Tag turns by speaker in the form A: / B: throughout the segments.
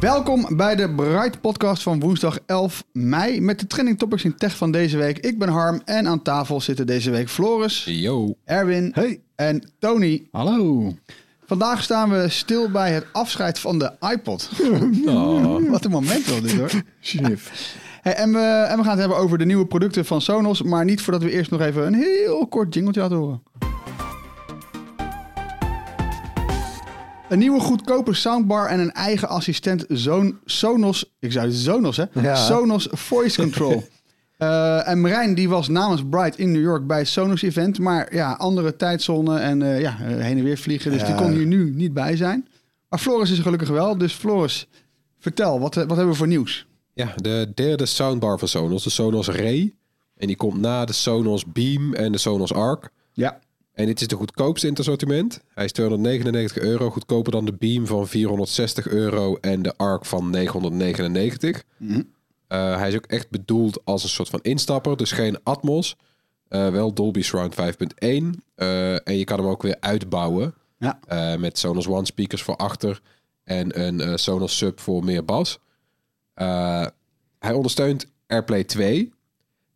A: Welkom bij de Bright Podcast van woensdag 11 mei met de trending topics in tech van deze week. Ik ben Harm en aan tafel zitten deze week Floris,
B: Yo.
A: Erwin
B: Hey.
A: en Tony.
B: Hallo.
A: Vandaag staan we stil bij het afscheid van de iPod. Wat een moment wel dit hoor.
B: Chief.
A: Hey, en, we, en we gaan het hebben over de nieuwe producten van Sonos, maar niet voordat we eerst nog even een heel kort jingletje laten horen. Een nieuwe goedkope soundbar en een eigen assistent Zoon, Sonos, ik zei Sonos hè,
B: Ja.
A: Sonos Voice Control. Eh, en Marijn die was namens Bright in New York bij het Sonos event, maar ja, andere tijdzone en eh, ja, eh, heen en weer vliegen, dus die kon hier nu niet bij zijn. Maar Floris is er gelukkig wel, dus Floris, vertel, wat, eh, wat hebben we voor nieuws?
C: Ja, de derde soundbar van Sonos, de Sonos Ray. En die komt na de Sonos Beam en de Sonos Arc.
A: Ja,
C: En dit is de goedkoopste in het assortiment. Hij is 299 euro, goedkoper dan de Beam van 460 euro en de Arc van 999.
A: Mhm.
C: Eh, hij is ook echt bedoeld als een soort van instapper, dus geen Atmos. Eh, wel Dolby Surround 5.1. Eh, en je kan hem ook weer uitbouwen
A: Ja.
C: Eh, met Sonos One speakers voor achter en een eh, Sonos Sub voor meer bas. Eh, hij ondersteunt AirPlay 2.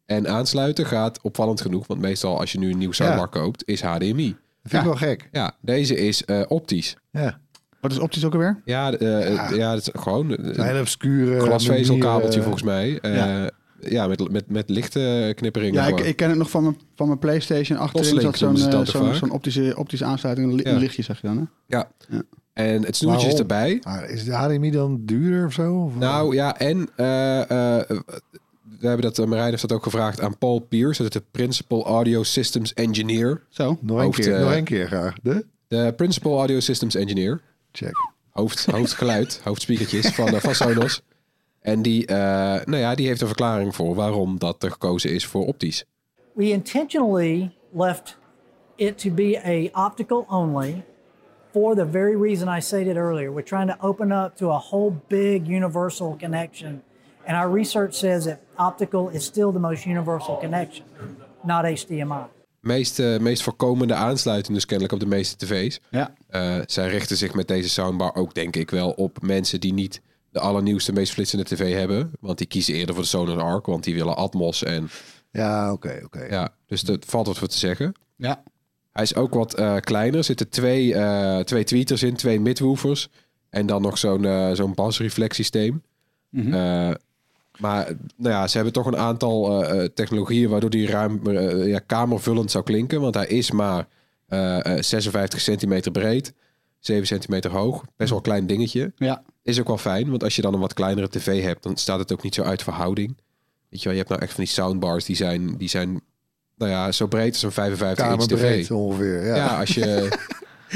C: En aansluiten gaat opvallend genoeg, want meestal als je nu een nieuw soundbar koopt, is HDMI.
B: Dat vind ik wel gek.
C: Ja, deze is eh, optisch.
B: Ja.
A: wat is optisch ook alweer?
C: Ja, eh, ja. dat is gewoon
B: Een
C: een
B: hele obscure...
C: glasvezelkabeltje
B: manier, eh,
C: volgens mij. Eh,
B: ja.
C: ja, met, met, met lichte knipperingen.
A: Ja, ik,
C: gewoon.
A: ik ken het nog van mijn, van mijn PlayStation. Achterin
C: Toslink
A: zat zo'n
C: noemen ze
A: eh,
C: dat
A: zo'n
C: vaak.
A: zo'n optische, optische aansluiting. Een, li-
C: Ja.
A: een lichtje zeg je dan. Hè?
C: ja.
A: Ja.
C: En het snoertje is
B: Waarom?
C: erbij.
B: Maar is de HDMI dan duurder of zo? Of-
C: Nou ja, en eh, eh, we hebben dat, eh, Marijn heeft dat ook gevraagd aan Paul Pierce, dat is de Principal Audio Systems Engineer.
A: Zo.
B: nog één
C: hoofd,
B: keer,
C: eh,
B: nog één keer graag. De?
C: De Principal Audio Systems Engineer.
B: Check.
C: hoofd, hoofdgeluid, hoofdspiekertjes van, eh, van Sonos. En die, eh, nou ja, die heeft een verklaring voor waarom dat er gekozen is voor optisch.
D: we intentionally left it to be a optical only for the very reason I stated earlier. We're trying to open up to a whole big universal connection. And our research says that optical is still the most universal connection, not HDMI.
C: Meest, eh, meest voorkomende aansluiting dus kennelijk op de meeste tv's.
A: Ja.
C: Eh, zij richten zich met deze soundbar ook denk ik wel op mensen die niet de allernieuwste, meest flitsende tv hebben. Want die kiezen eerder voor de Sonos Arc, want die willen Atmos. En,
B: Ja, oké, oké.
C: ja, dus dat valt wat voor te zeggen.
A: Ja.
C: Hij is ook wat eh, kleiner. Er zitten twee, eh, twee tweeters in, twee midwoofers. En dan nog zo'n eh, zo'n basreflexsysteem. Eh, maar nou ja, ze hebben toch een aantal eh, eh, technologieën waardoor die ruim eh, ja, kamervullend zou klinken. Want hij is maar eh, eh, 56 centimeter breed, 7 centimeter hoog. Best wel een klein dingetje.
A: Ja.
C: Is ook wel fijn, want als je dan een wat kleinere tv hebt, dan staat het ook niet zo uit verhouding. Weet je wel, je hebt nou echt van die soundbars die zijn, die zijn nou ja, zo breed als een 55 inch tv.
B: Kamerbreed ongeveer. Ja.
C: Ja, als je.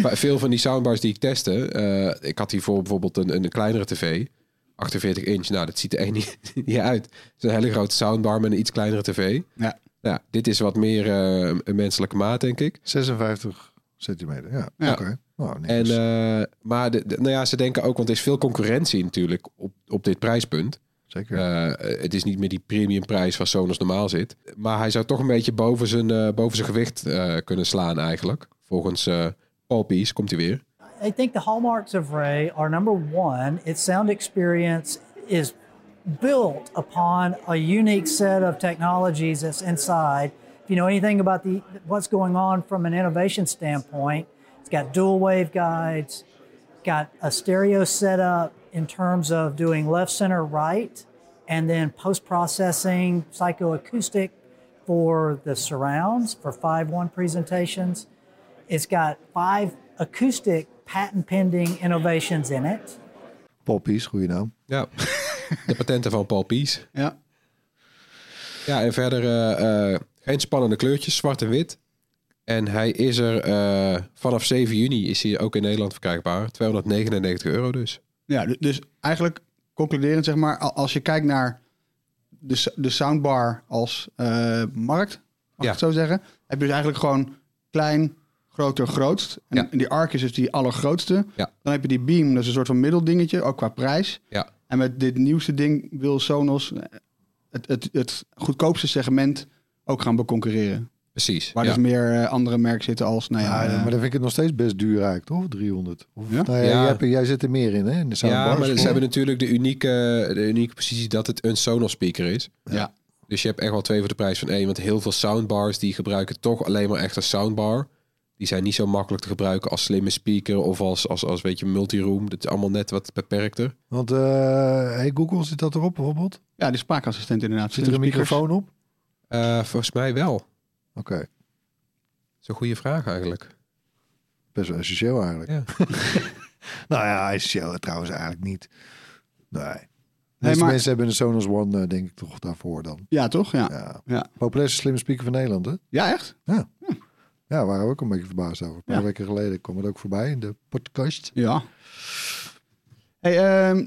C: Maar veel van die soundbars die ik testte. eh, ik had hiervoor bijvoorbeeld een, een kleinere tv. 48 inch. Nou, dat ziet er echt niet, niet uit. Het is een hele grote soundbar met een iets kleinere tv.
A: Ja.
C: Nou, dit is wat meer eh, een menselijke maat, denk ik.
B: 56 centimeter. Ja,
A: Ja.
B: oké. Nou, niks.
C: En, eh, maar de, de- nou ja, ze denken ook, want er is veel concurrentie natuurlijk op, op dit prijspunt.
B: Zeker.
C: Eh, het is niet meer die premiumprijs waar Sonos normaal zit. Maar hij zou toch een beetje boven zijn, eh, boven zijn gewicht eh, kunnen slaan eigenlijk. Volgens eh Paul Pies komt hij weer.
D: I think the hallmarks of Ray are number one, its sound experience is built upon a unique set of technologies that's inside. If you know anything about the what's going on from an innovation standpoint, it's got dual wave guides, got a stereo setup in terms of doing left, center, right, and then post processing psychoacoustic for the surrounds for 5 1 presentations. It's got five acoustic patent pending innovations in it.
B: Paul Pies, goede naam.
C: Ja. De patenten van Paul Pies.
A: Ja.
C: Ja, en verder eh, eh, geen spannende kleurtjes, zwart en wit. En hij is er eh, vanaf 7 juni is hij ook in Nederland verkrijgbaar. 299 euro dus.
A: Ja, du- dus eigenlijk concluderend zeg maar, a- als je kijkt naar de, s- de soundbar als eh, markt, mag ik
C: Ja.
A: het zo zeggen, heb je dus eigenlijk gewoon klein, groter, grootst. En,
C: Ja.
A: en die Arc is dus die allergrootste.
C: Ja.
A: Dan heb je die Beam, dat is een soort van middeldingetje, ook qua prijs.
C: Ja.
A: En met dit nieuwste ding wil Sonos eh, het, het, het goedkoopste segment ook gaan beconcurreren.
C: Precies.
A: Waar
C: ja.
A: dus meer eh, andere merken zitten als, nou ja,
B: Ja,
A: eh,
B: Ah, maar dan vind ik het nog steeds best duur eigenlijk, toch? 300. Of,
A: Ja?
B: Nou ja,
C: Ja.
B: Jij, hebt er- jij zit er meer in, hè? In de soundbar.
C: ja, maar ze hebben natuurlijk de unieke, de unieke positie dat het een Sonos speaker is.
A: Ja.
C: Dus je hebt echt wel twee voor de prijs van één. Want heel veel soundbars die gebruiken toch alleen maar echt een soundbar. Die zijn niet zo makkelijk te gebruiken als slimme speaker of als, als, als weet je, multiroom. Dat is allemaal net wat beperkter.
B: Want eh hey, Google, zit dat erop bijvoorbeeld?
A: ja, die spraakassistent inderdaad.
B: Zit er een
A: Speakers.
B: microfoon op?
C: Eh, volgens mij wel. Dat
B: Oké,
C: is een goede vraag eigenlijk.
B: best wel essentieel eigenlijk.
C: Ja.
B: nou ja, essentieel trouwens eigenlijk niet. Nee. De
A: Nee,
B: meeste
A: maar-
B: mensen hebben een Sonos One, eh, denk ik toch, daarvoor dan.
A: Ja, toch? Ja. Ja,
B: Ja.
A: ja.
B: Populairste slimme speaker van Nederland, hè? Hm.
A: echt?
B: Ja, daar waren we ook een beetje verbaasd over. Een paar
A: Ja.
B: weken geleden kwam het ook voorbij in de podcast.
A: Ja. Hey, ehm,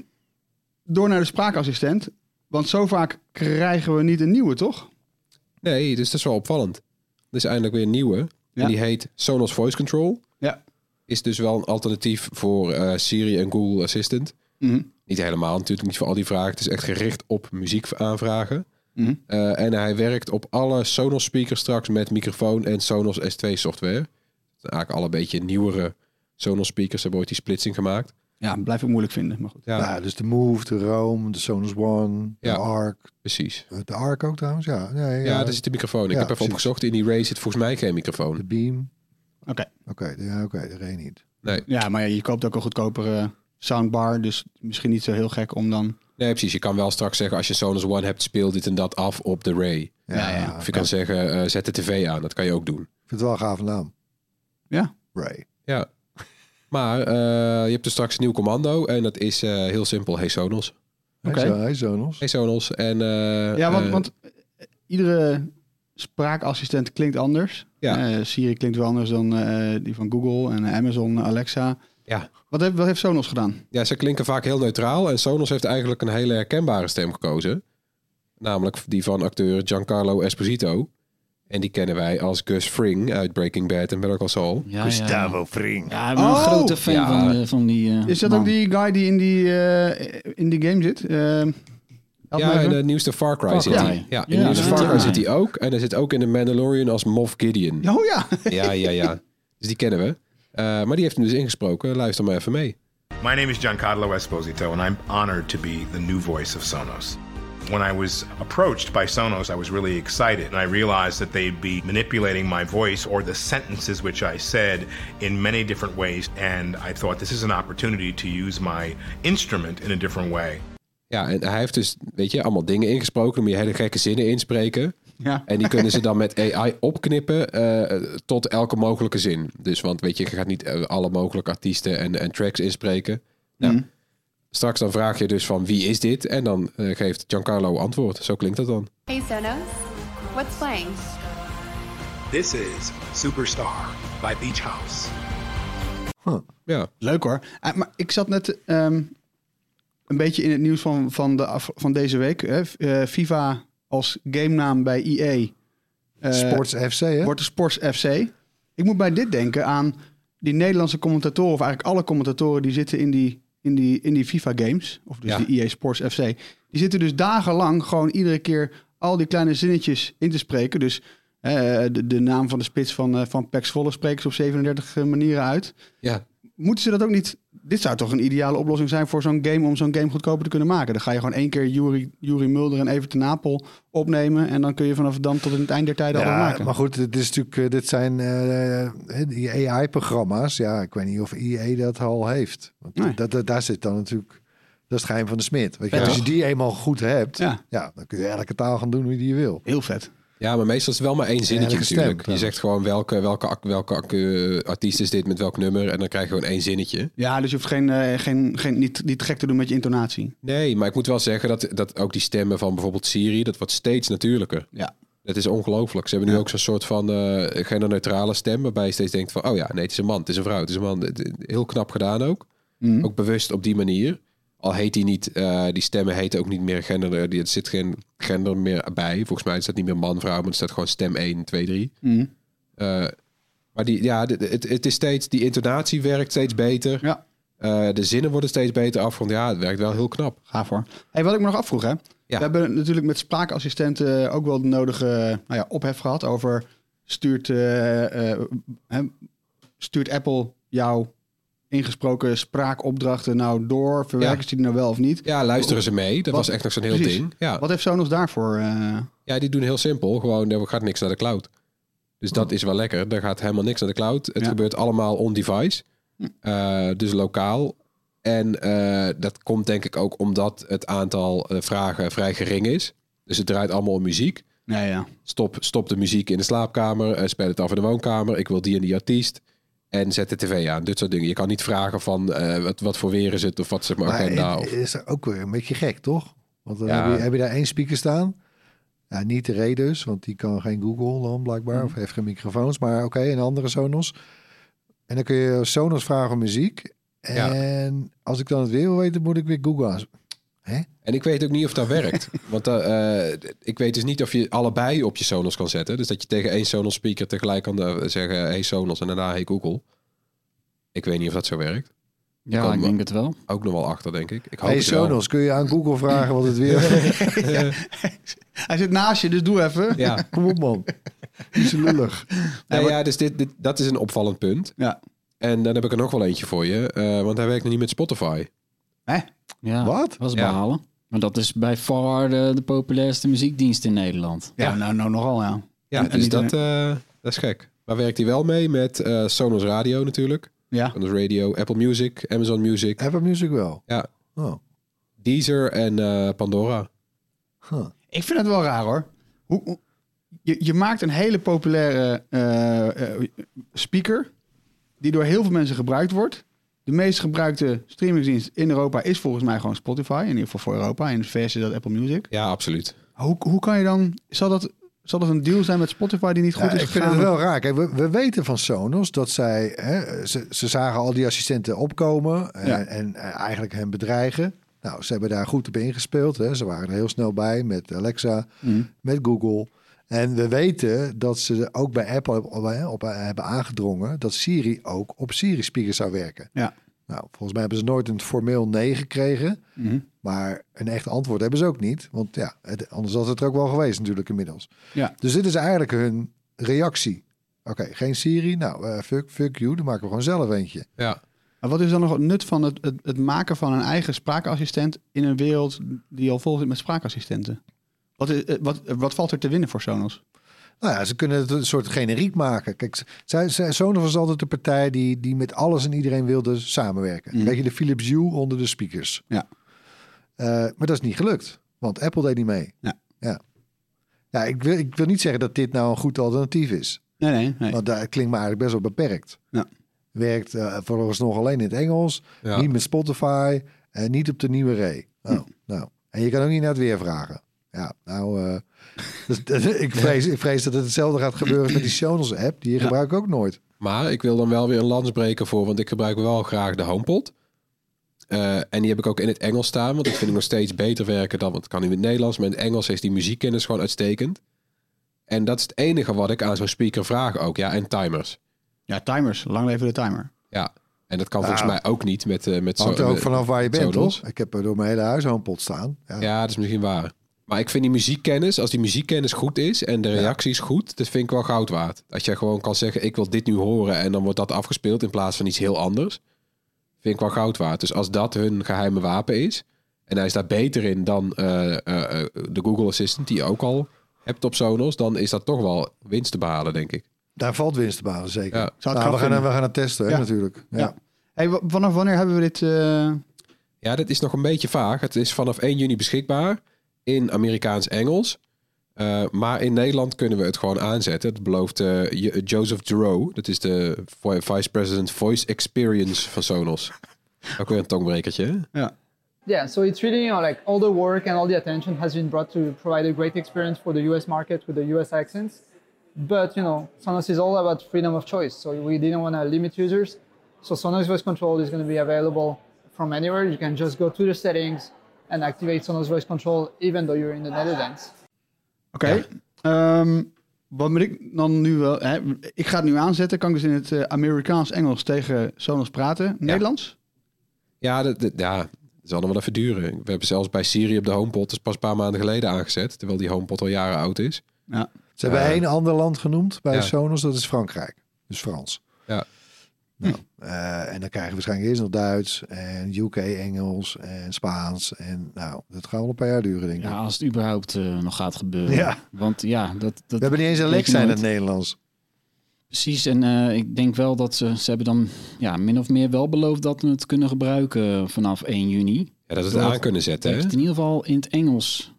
A: door naar de spraakassistent. Want zo vaak krijgen we niet een nieuwe, toch?
C: Nee, dus dat is wel opvallend. Er is eindelijk weer een nieuwe.
A: Ja.
C: En die heet Sonos Voice Control.
A: Ja.
C: Is dus wel een alternatief voor eh, Siri en Google Assistant.
A: Mhm.
C: Niet helemaal natuurlijk, niet voor al die vragen. Het is echt gericht op muziekaanvragen.
A: Mhm.
C: Eh, en hij werkt op alle Sonos speakers straks met microfoon en Sonos S2 software. Dat zijn eigenlijk alle beetje nieuwere Sonos speakers. Ze hebben ooit die splitsing gemaakt.
A: Ja, blijf ik moeilijk vinden. Maar goed.
C: Ja,
B: Ja. dus de Move, de Roam, de Sonos One,
C: Ja.
B: de Arc.
C: precies.
B: De Arc ook trouwens, ja. Ja, ja,
C: Ja, dus- daar zit de microfoon. Ik
B: Ja,
C: heb even
B: precies.
C: opgezocht. In die Ray zit volgens mij geen microfoon.
B: De Beam.
A: Oké.
B: Oké, de- ja, oké, de Ray niet.
C: Nee.
A: Ja, maar ja, je koopt ook een goedkopere soundbar. Dus misschien niet zo heel gek om dan...
C: Nee, precies. Je kan wel straks zeggen als je Sonos One hebt, speel dit en dat af op de Ray.
A: Ja, ja.
B: Ah,
C: Of je kan zeggen, eh, zet de tv aan. Dat kan je ook doen.
B: Ik vind het wel een gave naam.
A: Ja.
B: Ray.
C: Ja. Maar eh, je hebt dus straks een nieuw commando en dat is eh, heel simpel. Hey Sonos.
A: Oké.
B: Oké. Hey, Zo- hey, Sonos.
C: Hey Sonos. En, eh,
A: Ja, want,
C: eh,
A: want iedere spraakassistent klinkt anders.
C: Ja.
A: Eh, Siri klinkt wel anders dan eh, die van Google en Amazon, Alexa.
C: Ja.
A: Wat heeft, wat heeft Sonos gedaan?
C: ja, ze klinken vaak heel neutraal en Sonos heeft eigenlijk een hele herkenbare stem gekozen. Namelijk die van acteur Giancarlo Esposito. En die kennen wij als Gus Fring uit Breaking Bad en Better Call Saul.
D: Ja, ja.
B: Fring.
D: ja ik ben een
A: Oh!
D: grote fan
C: Ja.
D: van, eh, van die eh,
A: Is dat
D: man.
A: ook die guy die in die, eh, in die game zit? Eh, help me
C: Ja,
A: even.
C: in de nieuwste Far Cry
D: Far
C: zit
D: Cry.
C: hij. Ja, in de
D: Ja,
C: nieuwste
D: ja.
C: Far Cry
D: Ja.
C: zit hij ook. En hij zit ook in de Mandalorian als Moff Gideon.
A: Oh ja.
C: Ja, ja, ja. Dus die kennen we. Eh, maar die heeft hem dus ingesproken. Luister maar even mee.
E: My name is Giancarlo Esposito, and I'm honored to be the new voice of Sonos. When I was approached by Sonos, I was really excited, and I realized that they'd be manipulating my voice or the sentences which I said in many different ways, and I thought this is an opportunity to use my instrument in a different way.
C: Ja, en hij heeft dus, weet je, allemaal dingen ingesproken. Dan moet je hele gekke zinnen inspreken.
A: Ja.
C: En die kunnen ze dan met AI opknippen eh, tot elke mogelijke zin. Dus, want weet je, je gaat niet eh, alle mogelijke artiesten en, en tracks inspreken. Nou,
B: Mm.
C: Straks dan vraag je dus van wie is dit? En dan eh, geeft Giancarlo antwoord. Zo klinkt dat dan.
F: Hey Sonos, what's playing?
E: This is Superstar by Beach House.
C: Ja,
A: Leuk hoor. Eh, maar ik zat net ehm, een beetje in het nieuws van, van, de, af- van deze week. Hè. V- eh, FIFA als game naam bij EA. eh,
B: Sports FC, hè?
A: Wordt de Sports FC. Ik moet bij dit denken aan die Nederlandse commentatoren, of eigenlijk alle commentatoren die zitten in die, in die, in die FIFA games, of dus
C: Ja.
A: die EA Sports FC. Die zitten dus dagenlang gewoon iedere keer al die kleine zinnetjes in te spreken. Dus eh, de, de naam van de spits van, eh, van Pax Volle spreken ze op 37 manieren uit.
C: ja.
A: Moeten ze dat ook niet... Dit zou toch een ideale oplossing zijn voor zo'n game... om zo'n game goedkoper te kunnen maken. Dan ga je gewoon één keer Jury, Jury Mulder en Evert ten Napel opnemen... en dan kun je vanaf dan tot in het eind der tijden alles
B: Ja,
A: maken.
B: maar goed, dit, is natuurlijk, eh, dit zijn eh, die AI-programma's. Ja, ik weet niet of IE dat al heeft. Want
A: Nee.
B: dat, dat- daar zit dan natuurlijk... Dat is het geheim van de smid. Weet je,
A: Ja.
B: als je die eenmaal goed hebt,
A: Ja.
B: ja. dan kun je elke taal gaan doen wie die je wil.
A: Heel vet.
C: Ja, maar meestal is het wel maar één zinnetje
B: elke stem,
C: natuurlijk.
B: ja.
C: Je zegt gewoon welke, welke, ac- welke, ac- eh, artiest is dit met welk nummer. En dan krijg je gewoon één zinnetje.
A: Ja, dus je hoeft geen, eh, geen, geen, niet, niet gek te doen met je intonatie.
C: Nee, maar ik moet wel zeggen dat, dat ook die stemmen van bijvoorbeeld Siri, dat wordt steeds natuurlijker.
A: Ja.
C: Dat is ongelooflijk. Ze hebben nu ook zo'n soort van eh genderneutrale stem, waarbij je steeds denkt van, oh ja, nee, het is een man, het is een vrouw, het is een man. Het- het- Heel knap gedaan ook.
A: Mhm.
C: Ook bewust op die manier. Al heet die niet, eh, die stemmen heten ook niet meer gender, eh, die- er zit geen gender meer bij. Volgens mij is dat niet meer man, vrouw, maar het staat gewoon stem 1, 2, 3.
A: Mhm.
C: Eh, maar die, ja, de- de- het, het is steeds, die intonatie werkt steeds beter.
A: Ja.
C: Eh, de zinnen worden steeds beter afgerond. Ja, het werkt wel heel knap.
A: Gaaf hoor. Hey, wat ik me nog afvroeg, hè? We hebben natuurlijk met spraakassistenten eh, ook wel de nodige nou ja, ophef gehad over stuurt, eh, eh, hè, stuurt Apple jouw ingesproken spraakopdrachten nou door? Verwerken
C: Ja.
A: ze die nou wel of niet?
C: Ja, luisteren ze mee. Dat
A: Wat-
C: was echt nog zo'n heel
A: Precies.
C: ding. Ja.
A: Wat heeft Sonos daarvoor? eh,
C: ja, die doen heel simpel. Gewoon, er gaat niks naar de cloud. Dus dat is wel lekker. Er gaat helemaal niks naar de cloud. Het
A: Oh. Ja. Hm.
C: gebeurt allemaal on-device. Eh, dus lokaal. En eh, dat komt denk ik ook omdat het aantal eh, vragen vrij gering is. Dus het draait allemaal om muziek.
A: ja, ja.
C: Stop, stop de muziek in de slaapkamer. eh, speel het af in de woonkamer. Ik wil die en die artiest. En zet de tv aan. Dit soort dingen. Je kan niet vragen van eh, wat, wat voor weer is het of wat zeg maar,
B: Maar
C: agenda.
B: het
C: of...
B: is ook weer een beetje gek, toch? Want dan
C: nou. Ja.
B: heb, je, heb je daar één speaker staan. Ja, niet de Ray dus, want die kan geen Google dan blijkbaar.
C: Mm.
B: Of heeft geen microfoons, maar oké, een andere Sonos. En dan kun je Sonos vragen om muziek.
C: Ja.
B: En als ik dan het weer wil weten, moet ik weer Google.
C: En ik weet ook niet of dat werkt. Want eh, eh, ik weet dus niet of je allebei op je Sonos kan zetten. Dus dat je tegen één Sonos speaker tegelijk kan eh, zeggen... hey Sonos en daarna hey Google. Ik weet niet of dat zo werkt.
A: Ja,
C: Kan
A: ik
C: wel.
A: denk het wel.
C: Ook nog wel achter, denk ik. ik hoop
B: Hey
C: het wel.
B: Sonos, kun je aan Google vragen wat het weer...
A: Hij zit naast je, dus doe even.
C: Ja.
B: Kom op man, niet zo lullig.
C: Nou ja, dus dit, dit, dat is een opvallend punt.
A: Ja.
C: En dan heb ik er nog wel eentje voor je. eh, want hij werkt nog niet met Spotify.
D: Ja,
B: Wat?
D: was
C: Ja.
D: behalen. Maar dat is bij far eh, de, de populairste muziekdienst in Nederland.
A: Ja, nou, nou nogal, ja.
C: Ja,
A: En- en
C: dus
A: niet
C: dat,
A: alleen-
C: eh, dat is gek. Maar werkt hij wel mee met eh, Sonos Radio natuurlijk.
A: Ja.
C: Sonos Radio, Apple Music, Amazon Music,
B: Apple Music wel.
C: Ja.
B: Oh.
C: Deezer en eh, Pandora.
B: huh.
A: Ik vind het wel raar hoor. Hoe, hoe- je, je maakt een hele populaire eh, eh, speaker. Die door heel veel mensen gebruikt wordt. De meest gebruikte streamingsdienst in Europa is volgens mij gewoon Spotify. In ieder geval voor Europa. In VS is dat Apple Music.
C: Ja, absoluut.
A: Hoe, hoe kan je dan... Zal dat, zal dat een deal zijn met Spotify die niet goed
B: Ja,
A: is
B: ik vind
A: gegaan?
B: het wel raar. Kijk, we, we weten van Sonos dat zij... Hè, ze, ze zagen al die assistenten opkomen en,
A: Ja.
B: en eh, eigenlijk hen bedreigen. Nou, ze hebben daar goed op ingespeeld. Hè. Ze waren er heel snel bij met Alexa,
A: Mhm.
B: met Google. En we weten dat ze ook bij Apple op, op- hè, op- eh, hebben aangedrongen... dat Siri ook op Siri-speakers zou werken.
A: Ja.
B: Nou, volgens mij hebben ze nooit een formeel nee gekregen.
A: Mhm.
B: Maar een echt antwoord hebben ze ook niet. Want ja, het- anders had het er ook wel geweest natuurlijk inmiddels.
A: Ja.
B: Dus dit is eigenlijk hun reactie. Oké, geen Siri. Nou, eh, fuck, fuck you. Dan maken we gewoon zelf eentje.
C: Ja.
A: Maar wat is dan nog het nut van het, het, het maken van een eigen spraakassistent... in een wereld die al vol zit met spraakassistenten? Wat, is, eh, wat, wat valt er te winnen voor Sonos?
B: Nou ja, ze kunnen het een soort generiek maken. Kijk, zij, zij, Sonos was altijd de partij die, die met alles en iedereen wilde samenwerken. Een beetje de Philips Hue onder de speakers.
A: Ja.
B: Eh, maar dat is niet gelukt, want Apple deed niet mee.
A: Ja.
B: ja. Ja, ik, wil, ik wil niet zeggen dat dit nou een goed alternatief is.
A: Nee, nee, nee.
B: Want dat klinkt me eigenlijk best wel beperkt.
A: Ja.
B: Werkt eh volgens nog alleen in het Engels,
C: Ja.
B: niet met Spotify en niet op de nieuwe Ray. Oh, nou. En je kan ook niet naar het weer vragen. Ja, nou, eh, dus, ik, vrees, ik vrees dat het hetzelfde gaat gebeuren als met die Sonos app. Die gebruik ik ook nooit.
C: Maar ik wil dan wel weer een lans breken voor, want ik gebruik wel graag de HomePod. Eh, en die heb ik ook in het Engels staan, want ik vind hem nog steeds beter werken dan, want het kan nu in het Nederlands, maar in het Engels is die muziekkennis gewoon uitstekend. En dat is het enige wat ik aan zo'n speaker vraag ook, ja, en timers.
A: Ja, timers. Lang leven de timer.
C: Ja, en dat kan volgens mij ook niet met, eh met
B: Ah. Hangt er ook
C: met-
B: vanaf waar je bent,
C: Sonos.
B: toch? Ik heb er door mijn hele huis een pot staan. Ja.
C: Ja, dat is misschien waar. Maar ik vind die muziekkennis, als die muziekkennis goed is en de reactie is goed, dat vind ik wel goud waard. Als jij gewoon kan zeggen, ik wil dit nu horen en dan wordt dat afgespeeld in plaats van iets heel anders, vind ik wel goud waard. Dus als dat hun geheime wapen is en hij is daar beter in dan eh, eh, eh, de Google Assistant die je ook al hebt op Sonos, dan is dat toch wel winst te behalen, denk ik.
B: Daar valt winst te behalen, zeker.
C: Ja.
A: Zou het
B: Nou, we,
A: knap
B: gaan,
A: vinden.
B: we gaan het testen, hè,
A: Ja.
B: natuurlijk. Ja.
A: Ja. Hey, wa- vanaf wanneer hebben we dit? eh,
C: Ja, dat is nog een beetje vaag. Het is vanaf 1 juni beschikbaar in Amerikaans-Engels. Eh, maar in Nederland kunnen we het gewoon aanzetten. Dat belooft eh, Je- Joseph Dro. Dat is de vo- Vice President Voice Experience van Sonos. Ook weer een tongbrekertje. hè?
G: Yeah, so it's really you know, like all the work and all the attention has been brought to provide a great experience for the US market with the US accents. But you know, Sonos is all about freedom of choice. So we didn't want to limit users. So Sonos voice control is going to be available from anywhere. You can just go to the settings and activate Sonos voice control even though you're in the Netherlands.
A: Oké. Ehm, wat moet ik dan nu wel... Hè? Ik ga het nu aanzetten. Kan ik dus in het eh, Amerikaans-Engels tegen Sonos praten? Nederlands?
C: Ja, dat, dat- ja, dat zal nog wel even duren. We hebben zelfs bij Siri op de HomePod, dat is pas een paar maanden geleden aangezet. Terwijl die HomePod al jaren oud is.
A: Ja.
B: Ze hebben
C: Eh,
B: één ander land genoemd bij
C: ja.
B: Sonos, dat is Frankrijk. Dus Frans.
C: Ja.
B: Nou, eh, en dan krijgen we waarschijnlijk eerst nog Duits en UK Engels en Spaans. En nou, dat gaat wel een paar jaar duren, denk ik.
D: Ja, als het überhaupt eh, nog gaat gebeuren.
B: Ja.
D: Want ja, dat...
B: we
D: dat
B: hebben niet eens
D: weet je
B: Alexa in
D: nooit.
B: het Nederlands.
D: Precies, en eh, ik denk wel dat ze, ze hebben dan ja, min of meer wel beloofd dat we het kunnen gebruiken vanaf 1 juni.
C: Ja, dat we het
D: Door-
C: aan kunnen zetten,
D: Dat je
C: hè?
D: het in ieder geval in het Engels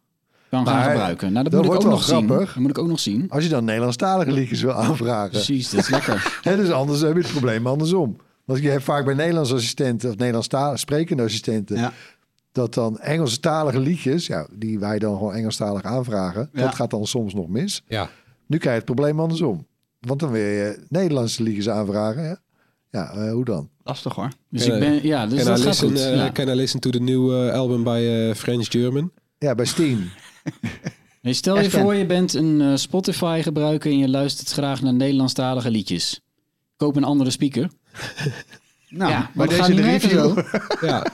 D: kan
B: Maar
D: gaan gebruiken. Nou, dat,
B: dat
D: moet ik ook
B: wordt
D: nog
B: wel
D: zien.
B: grappig.
D: Dat moet ik ook nog zien.
B: Als je dan Nederlandstalige liedjes wil aanvragen.
D: Precies, dat is lekker.
B: Hè, dus anders heb je het probleem andersom. Want je hebt vaak bij Nederlands assistenten of Nederlands sprekende assistenten... dat dan Engelstalige liedjes, ja, die wij dan gewoon Engelstalig aanvragen...
C: Ja.
B: dat gaat dan soms nog mis.
C: Ja.
B: Nu krijg je het probleem andersom. Want dan wil je Nederlandse liedjes aanvragen. Hè? Ja, eh, hoe dan?
A: Lastig hoor.
D: Dus
C: Can
D: ik
C: I-
D: ben, ja, dus
C: can
D: dat
C: I
D: gaat
C: listen,
D: goed.
C: eh,
D: Ja.
C: Can I listen to the new eh, album by eh, French German?
B: Ja, bij Steam.
D: Nee, stel je
B: Echt, Ken?
D: voor, je bent een eh, Spotify-gebruiker en je luistert graag naar Nederlandstalige liedjes. Koop een andere speaker.
A: Nou,
D: ja,
A: bij
D: maar dat gaat
A: deze
D: niet
A: de
D: werken
A: review.
D: zo.
C: ja.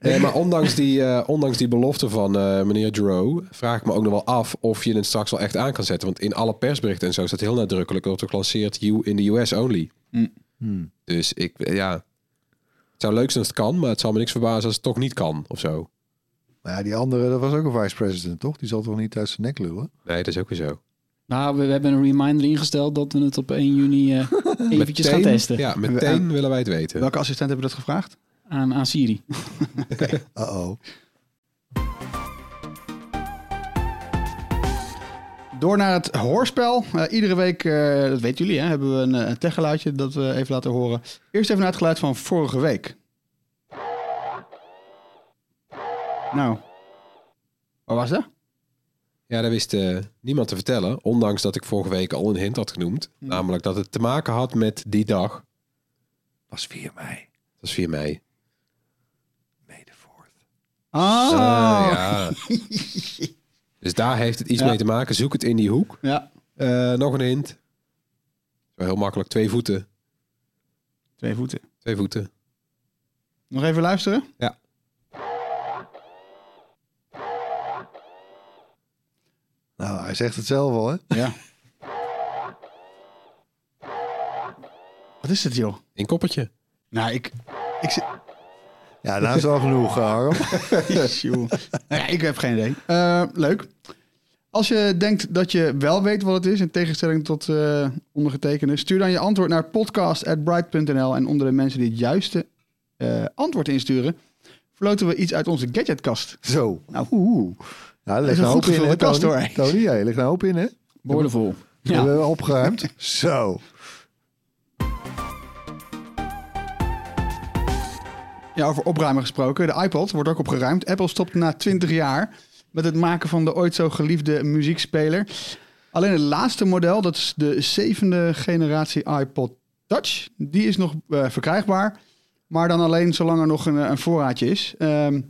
C: Nee, maar ondanks die, eh, ondanks die belofte van eh, meneer Dro, vraag ik me ook nog wel af of je het straks wel echt aan kan zetten. Want in alle persberichten en zo staat heel nadrukkelijk dat het lanceert you in the US only. Dus ik, ja, het zou leuk zijn als het kan, maar het zal me niks verbazen als het toch niet kan of zo.
B: Maar ja, die andere, dat was ook een vice-president, toch? Die zal toch niet uit zijn nek lullen?
C: Nee, dat is ook weer zo.
D: Nou, we, we hebben een reminder ingesteld dat we het op 1 juni eh, eventjes gaan
C: Meteen-
D: testen.
C: Ja, meteen willen wij het weten.
A: Welke assistent hebben dat gevraagd?
D: Aan, aan Siri.
B: Uh-oh.
A: Door naar het hoorspel. Eh, iedere week, eh, dat weten jullie, hè, hebben we een, eh, een techgeluidje dat we even laten horen. Eerst even naar het geluid van vorige week. Nou, wat was dat?
C: Ja, dat wist eh, niemand te vertellen. Ondanks dat ik vorige week al een hint had genoemd. Namelijk dat het te maken had met die dag. Het
B: was 4 mei.
C: Het was 4 mei.
A: Ah,
C: Eh, ja. dus daar heeft het iets
A: Ja.
C: mee te maken. Zoek het in die hoek.
A: Ja.
C: Eh, nog een hint. Zo heel makkelijk. Twee voeten.
A: Twee voeten.
C: Twee voeten.
A: Nog even luisteren?
C: Ja.
B: Nou, hij zegt het zelf al, hè?
A: Ja. Wat is het, joh?
C: Een koppertje.
A: Nou, ik... ik zit-
B: Ja, nou is wel genoeg, eh, Harm.
A: Joh. Nou ja, ik heb geen idee. Eh, leuk. Als je denkt dat je wel weet wat het is, in tegenstelling tot eh ondergetekende, stuur dan je antwoord naar podcast.bright.nl. En onder de mensen die het juiste eh, antwoord insturen, verloten we iets uit onze gadgetkast.
B: Zo.
A: Nou, oeh.
B: Nou, er
A: Dat is
B: ligt
A: een
B: een
A: goed
B: hoop in,
A: gevulde
B: hè,
A: kast,
B: Tony?
A: hoor.
B: Tony, ja, je ligt een hoop in, hè?
D: Boordevol.
B: We
D: Ja.
B: hebben we opgeruimd. Zo.
A: Ja, over opruimen gesproken. De iPod wordt ook opgeruimd. Apple stopt na 20 jaar met het maken van de ooit zo geliefde muziekspeler. Alleen het laatste model, dat is de zevende generatie iPod Touch, die is nog eh, verkrijgbaar. Maar dan alleen zolang er nog een, eh, een voorraadje is. Ehm,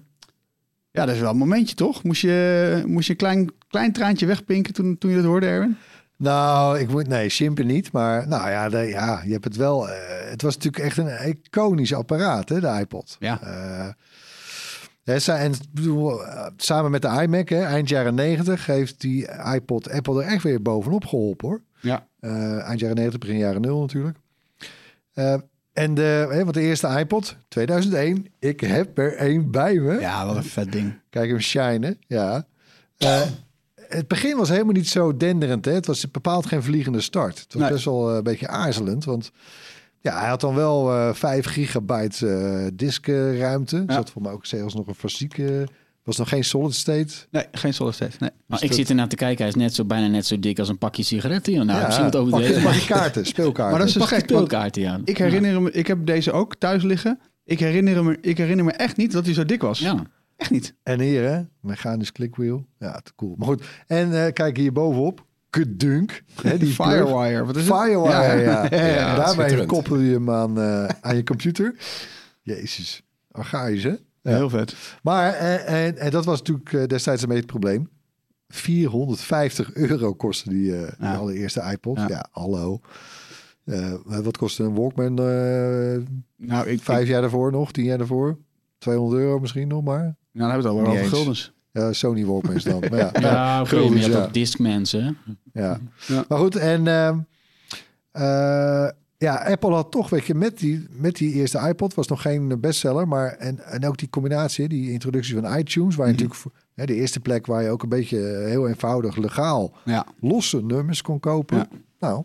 A: ja, dat is wel een momentje toch? Moest je, moest je een klein, klein traantje wegpinken toen, toen je dat hoorde, Erwin?
B: Nou, ik moet, nee, Shimpen niet. Maar nou ja, de- ja je hebt het wel. eh, het was natuurlijk echt een iconisch apparaat, hè, de iPod.
A: Ja.
B: Eh, hè, sa- en ik bedoel, eh, samen met de iMac, hè, eind jaren 90, heeft die iPod Apple er echt weer bovenop geholpen hoor.
A: Ja.
B: Eh, eind jaren 90, begin jaren 0 natuurlijk. Eh, en de, hè, want de eerste iPod, 2001. Ik heb er één bij me.
A: Ja, wat een vet ding.
B: Kijk hem shinen, ja. Eh, het begin was helemaal niet zo denderend. Hè? Het was bepaald geen vliegende start. Het was
A: Nee.
B: best wel eh, een beetje aarzelend. Want ja, hij had dan wel eh 5 gigabyte eh diskruimte. Er zat voor mij ook zelfs nog een fysieke Was nog geen solid state?
A: Nee, geen solid state. Nee.
D: Maar ik zit ernaar te kijken, hij is net zo, bijna net zo dik als een pakje sigaretten. joh. Nou, ja, misschien wat over
B: pak-
D: deze.
B: pak je kaarten, speelkaarten.
A: Maar dat is dus
D: Pak je
A: gek, want
D: speelkaarten, ja.
A: Ik herinner me, ik heb deze ook thuis liggen. Ik herinner me, ik herinner me echt niet dat hij zo dik was.
D: Ja.
A: Echt niet.
B: En hier, hè? Mechanisch clickwheel. Ja, te cool. Maar goed. En eh, kijk hier bovenop. Kudunk. Hè, die plug.
A: Firewire, wat is het?
B: Firewire, Dus ja.
A: Ja. Ja, ja,
B: En
A: dat is
B: Daarmee
A: schitterend.
B: koppel je hem aan, eh, aan je computer. Jezus. Archaïs, hè? Ja.
A: Heel vet.
B: Maar, eh, en, en dat was natuurlijk eh, destijds een beetje het probleem. 450 euro kostte die, eh, die allereerste iPod. Ja, hallo. Eh, wat kostte een Walkman eh,
A: Nou, ik,
B: vijf
A: ik-
B: jaar daarvoor nog, tien jaar daarvoor? 200 euro misschien nog maar.
A: Nou, dan hebben we het al
B: Niet
A: wel over
B: eens.
A: guldens.
B: Ja, Sony Walkmans dan. Maar ja,
D: Ja, oké, maar je
B: guldens,
D: hebt
B: ja.
D: ook Discmans, hè?
B: Ja. Maar goed, en ehm, eh, ja, Apple had toch, weet je, met die, met die eerste iPod was nog geen bestseller, maar en, en ook die combinatie, die introductie van iTunes, waar je natuurlijk voor- hè, de eerste plek waar je ook een beetje eh, heel eenvoudig legaal
A: Ja.
B: losse nummers kon kopen. Nou,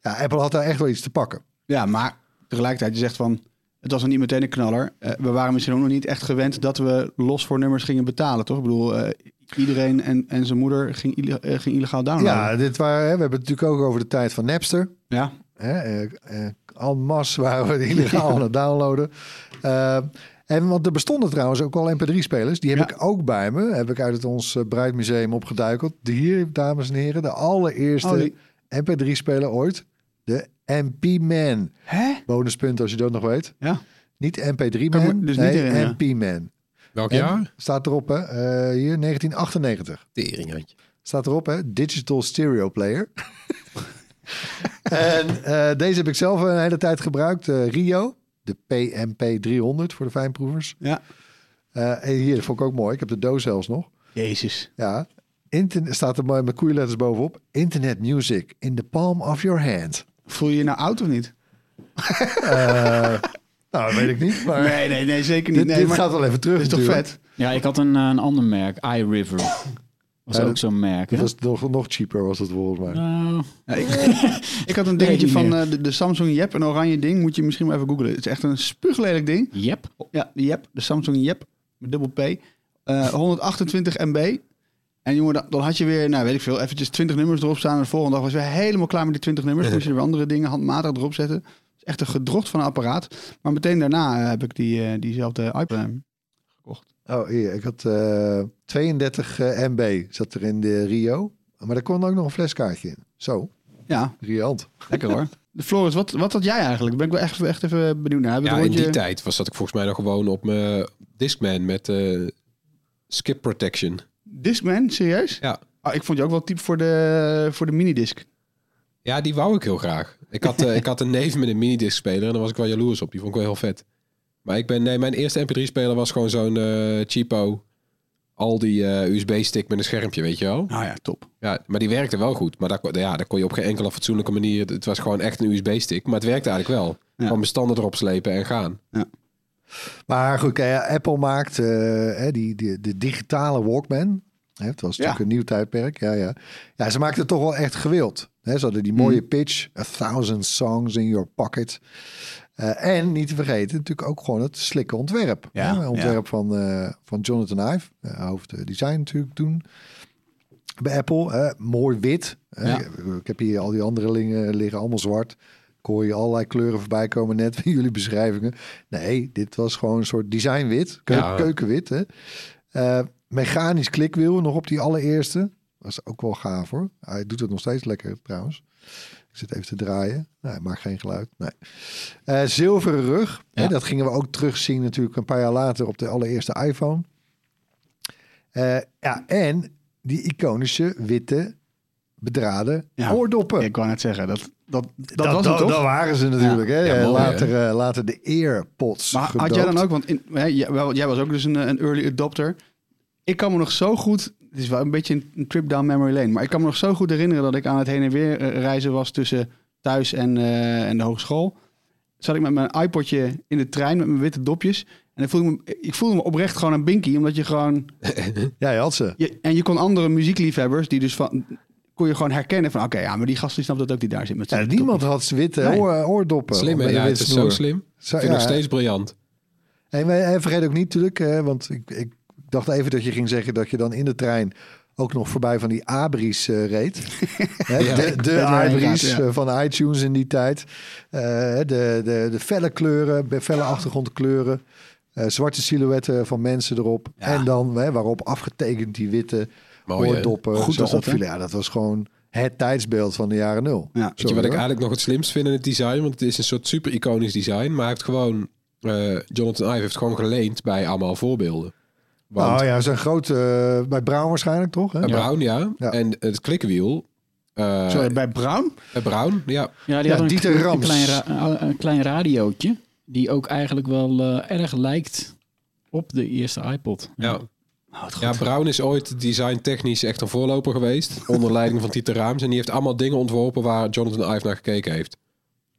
B: ja, Apple had daar echt wel iets te pakken.
A: Ja, maar tegelijkertijd, je zegt van, het was nog niet meteen een knaller. Eh, we waren misschien ook nog niet echt gewend dat we los voor nummers gingen betalen, toch? Ik bedoel, eh, iedereen en, en zijn moeder ging, ille- eh, ging illegaal downloaden.
B: Ja, dit waren, hè, we hebben het natuurlijk ook over de tijd van Napster.
A: Ja.
B: Hè, eh, eh, en masse waren we illegaal aan het downloaden. Eh, en want er bestonden trouwens ook al MP3-spelers. Die heb ik ook bij me. Heb ik uit het ons eh, Bruidmuseum opgeduikeld. De hier, dames en heren, de allereerste
A: Oh, die-
B: MP3-speler ooit. De MP-Man.
A: Hè?
B: Bonuspunt als je dat nog weet.
A: Ja.
B: Niet
A: Kan ik me
B: MP3-Man,
A: dus niet
B: nee,
A: herinneren.
B: MP-Man.
C: Welk
B: En
C: jaar?
B: Staat erop, hè? eh, hier, 1998.
C: Teringhandje.
B: Staat erop, hè? Digital Stereo Player. en eh, deze heb ik zelf een hele tijd gebruikt. eh, Rio, de PMP300 voor de fijnproevers.
A: Ja.
B: Eh, en hier, dat vond ik ook mooi. Ik heb de doos zelfs nog.
A: Jezus.
B: Ja. Internet, staat er mooi met koeienletters bovenop. Internet music in the palm of your hand.
A: Voel je je nou oud of niet?
B: Eh, nou, dat weet ik niet. Maar
A: Nee, nee, nee, zeker niet.
B: Dit,
A: Nee,
B: dit
A: maar-
B: gaat wel even terug
A: Dit is toch
B: natuurlijk.
A: vet?
D: Ja, ik had een, eh, een ander merk, iRiver. Was
B: Ja,
D: ook
B: dat-
D: zo'n merk.
B: Dat
D: hè?
B: was nog, nog cheaper, was het volgens mij.
D: Nou,
A: Ja, ik, ik had een dingetje
D: niet
A: van
D: meer.
A: eh, de, de Samsung Jep, een oranje ding. Moet je misschien maar even googlen. Het is echt een spuuglelijk ding.
D: Jep.
A: Ja, de Jep, de Samsung Jep, met dubbel P. Eh, 128 MB. En jongen, dan, dan had je weer, nou weet ik veel, eventjes 20 nummers erop staan. En de volgende dag was je weer helemaal klaar met die 20 nummers. Moest je er weer andere dingen handmatig erop zetten. Het is echt een gedrocht van een apparaat. Maar meteen daarna eh, heb ik die, eh, diezelfde iPad. eh,
B: Oh, hier, ik had eh, 32 eh, MB zat er in de Rio. Maar daar kon ook nog een fleskaartje in. Zo,
A: Ja,
B: riant.
A: lekker hoor. Floris, wat, wat had jij eigenlijk? Ben ik wel echt, echt even benieuwd naar. Heb je
C: Ja,
A: het
C: in
A: rondje-
C: die tijd was, zat ik volgens mij nog gewoon op mijn Discman met eh, skip protection.
A: Discman, serieus?
C: Ja.
A: Ah, ik vond je ook wel type voor de, voor de minidisc.
C: Ja, die wou ik heel graag. Ik had, eh, ik had een neef met een minidisc speler en daar was ik wel jaloers op. Die vond ik wel heel vet. Maar ik ben, nee, mijn eerste mp3 speler was gewoon zo'n eh cheapo Aldi eh USB-stick met een schermpje, weet je wel.
A: Nou ja, top.
C: Ja, maar die werkte wel goed. Maar daar, kon- ja, daar kon je op geen enkele fatsoenlijke manier... Het was gewoon echt een USB-stick, maar het werkte eigenlijk wel. Gewoon bestanden erop slepen en gaan.
B: Maar goed, kijk, ja, Apple maakt eh, hè, die, die, de digitale Walkman. Hè, het was natuurlijk
A: Ja.
B: een nieuw tijdperk. Ja, ja. ja, ze maakten het toch wel echt gewild. Hè, ze hadden die mooie
A: Mm.
B: pitch. A thousand songs in your pocket. Eh, en niet te vergeten natuurlijk ook gewoon het slikke ontwerp.
A: Ja,
B: hè, ontwerp van, eh, van Jonathan Ive. eh, hoofddesign natuurlijk toen. Bij Apple, hè, mooi wit. hè.
A: Ja.
B: Ik heb hier al die andere dingen liggen, allemaal zwart. Ik hoor je allerlei kleuren voorbij komen net bij jullie beschrijvingen. Nee, dit was gewoon een soort designwit, keu-
C: Ja.
B: keukenwit. Hè? Eh, mechanisch klikwiel nog op die allereerste. Was ook wel gaaf hoor. Hij doet het nog steeds lekker trouwens. Ik zit even te draaien. Nee, hij maakt geen geluid. Nee. Eh, zilveren rug. Hè, dat gingen we ook terugzien natuurlijk een paar jaar later op de allereerste iPhone. Eh, ja, en die iconische witte bedraden
A: Ja.
B: oordoppen.
A: Ik wou net zeggen, dat, dat, dat,
B: dat,
A: was
B: dat,
A: het toch?
B: dat waren ze natuurlijk. Hè?
C: Ja, mooi,
B: later, eh, later de earpods.
A: Maar had jij
B: gedoopt.
A: dan ook, want in, hè, jij, wel, jij was ook dus een, eh, een early adopter. Ik kan me nog zo goed, het is wel een beetje een, een trip down memory lane, maar ik kan me nog zo goed herinneren dat ik aan het heen en weer eh, reizen was tussen thuis en, eh, en de hogeschool. Zat ik met mijn iPodje in de trein met mijn witte dopjes. En dan voelde ik, me, ik voelde me oprecht gewoon een binky, omdat je gewoon...
B: Ja, je had ze.
A: Je, en je kon andere muziekliefhebbers, die dus van... Kon je gewoon herkennen van, oké, ja, maar die gast die snapt dat ook die daar zit met
B: Ja,
A: zijn
B: niemand had ze witte
A: Nee.
B: oor- oordoppen.
C: Slim, hè?
B: Met een
C: Ja, het
B: witte
C: is
B: snoer.
C: zo slim. Ik
B: Zo-
C: vind het nog
B: ja.
C: steeds briljant.
B: eh, En, wij- en vergeet ook niet natuurlijk, hè, want ik, ik dacht even dat je ging zeggen dat je dan in de trein ook nog voorbij van die Abris eh, reed. Hè,
A: Ja,
B: de
A: ik
B: de
A: weet waar je
B: Abris
A: gaat, ja.
B: eh, van iTunes in die tijd. Eh, de, de, de felle kleuren, de felle achtergrondkleuren. eh, zwarte silhouetten van mensen erop. En dan hè, waarop afgetekend die witte
C: Mooi, hè?
B: oordoppen
C: Goed
B: zo
C: was dat, hè?
B: opvielen. Ja, dat was gewoon het tijdsbeeld van de jaren nul. Ja,
C: Weet je wat ik eigenlijk nog het slimst vind in het design? Want het is een soort super iconisch design. Maar hij heeft gewoon... eh, Jonathan Ive heeft gewoon geleend bij allemaal voorbeelden. Want-
B: Nou ja, zo'n groot... eh, bij Brown waarschijnlijk, toch? Hè?
C: Bij Brown, ja. En het klikwiel. eh,
B: Sorry,
A: bij Brown?
C: Bij Brown, ja.
D: Ja, die had een, kle- een klein, ra- eh, een klein radiootje. Die ook eigenlijk wel eh, erg lijkt op de eerste iPod. Nou,
C: Ja. Ja, Brown is ooit designtechnisch echt een voorloper geweest. Onder leiding van Tieter Raams. En die heeft allemaal dingen ontworpen waar Jonathan Ive naar gekeken heeft.